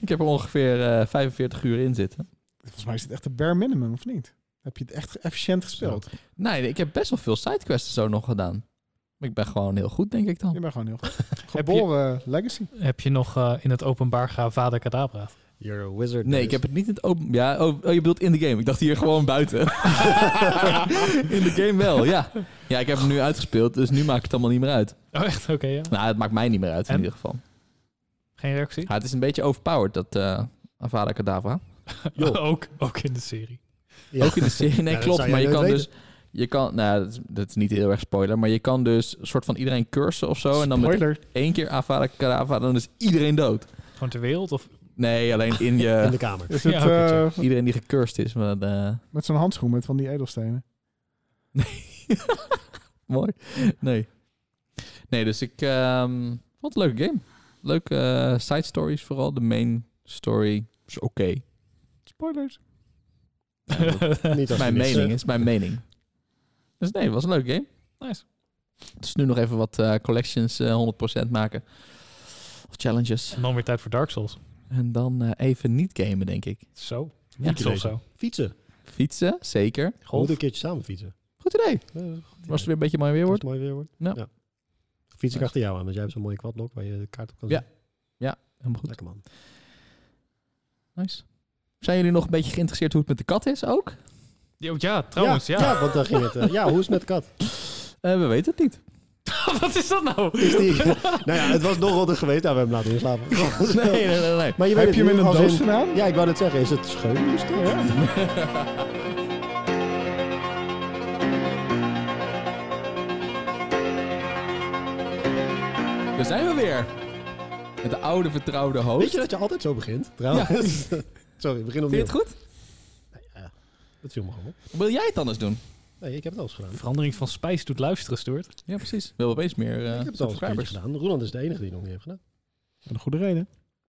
B: ik heb er ongeveer eh, 45 uur in zitten.
E: Volgens mij is het echt de bare minimum, of niet? Heb je het echt efficiënt gespeeld?
B: Nee, ik heb best wel veel sidequests zo nog gedaan. Maar ik ben gewoon heel goed, denk ik
E: Je
B: dan.
E: bent gewoon heel goed. Geboren eh, legacy.
C: Heb je nog eh, in het openbaar Vader Kadabra?
D: You're a wizard.
B: Nee, ik heb het niet in het open... Ja, oh, oh, je bedoelt in de game. Ik dacht hier gewoon buiten. in de game wel, ja. Ja, ik heb hem nu uitgespeeld, dus nu maakt het allemaal niet meer uit.
C: Oh, echt? Oké, ja.
B: Nou, het maakt mij niet meer uit in
C: En?
B: ieder geval.
C: Geen reactie?
B: Ja, het is een beetje overpowered, dat eh Avada Kedavra.
D: joh.
C: ook, ook in de serie.
D: Ja.
B: Ook in de serie, nee,
D: Ja, dat
B: klopt.
D: zou
B: Maar je
D: jij
B: kan
D: nooit
B: dus... Je kan, nou, dat is, dat is niet heel erg spoiler, maar je kan dus een soort van iedereen cursen of zo. En dan met
E: Spoiler.
B: één keer Avada Kedavra, dan is iedereen dood.
C: Gewoon ter wereld? Of...
B: Nee, alleen in
D: in
B: je...
D: de kamer.
E: Is het
C: Ja, oké,
E: eh,
B: Iedereen die gecurst is, maar... eh,
E: met zo'n handschoen met van die edelstenen?
B: Mooi. Nee. Nee, dus ik ehm, vond het een leuke game. Leuke eh, side stories vooral. De main story is oké.
E: Spoilers.
D: Niet als je
B: Mijn mening
D: niks eh, zegt.
B: is mijn mening. Dus nee, het was een leuke game.
C: nice.
B: Dus nu nog even wat eh, collections eh 100% maken. Of challenges.
C: En dan weer tijd voor Dark Souls.
B: En dan eh, even niet gamen, denk ik.
C: Zo.
B: Ja.
C: Niet zo, zo.
D: Fietsen.
B: Fietsen, zeker.
D: We moeten een keertje samen fietsen.
B: Goed idee.
D: Ja, dat is goed.
B: Was het weer een beetje mooi weer
D: Als
B: wordt?
D: het mooi weer wordt.
B: Ja.
D: Fiets ik
B: Nice.
D: achter jou aan, want jij hebt zo'n mooie kwadblok waar je de kaart op kan
B: Ja.
D: zetten.
B: Helemaal goed.
D: Lekker man.
B: Nice. Zijn jullie nog een beetje geïnteresseerd hoe het met de kat is ook?
C: Ja, ja, trouwens, Oh, ja.
D: want daar ging het. eh, ja, hoe is het met de kat?
B: Eh, we weten het niet.
C: Wat is dat nou?
D: Is die, nou ja, het was nog rotter geweest. Nou, we hebben hem laten inslapen.
B: Nee, nee, nee. nee.
D: Maar je weet
E: Heb je hem
D: het
E: in
D: niet,
E: een
D: als
E: doos gedaan?
D: Ja, ik wou net zeggen. Is het scheun? Is dat?
B: Daar zijn we weer. Met de oude vertrouwde host.
D: Weet je dat je altijd zo begint? Trouwens. Sorry, begin
B: Vind je
D: opnieuw.
B: het goed?
D: Dat viel me gewoon op.
B: Wil jij het anders doen?
D: Nee, ik heb het al eens gedaan.
C: Verandering van spijs doet luisteren, Stuart.
B: Ja, precies. Wil opeens meer eh,
D: ik heb het al eens een keertje
B: subscribers.
D: gedaan. Roland is de enige die het nog niet heeft gedaan.
E: Een goede reden.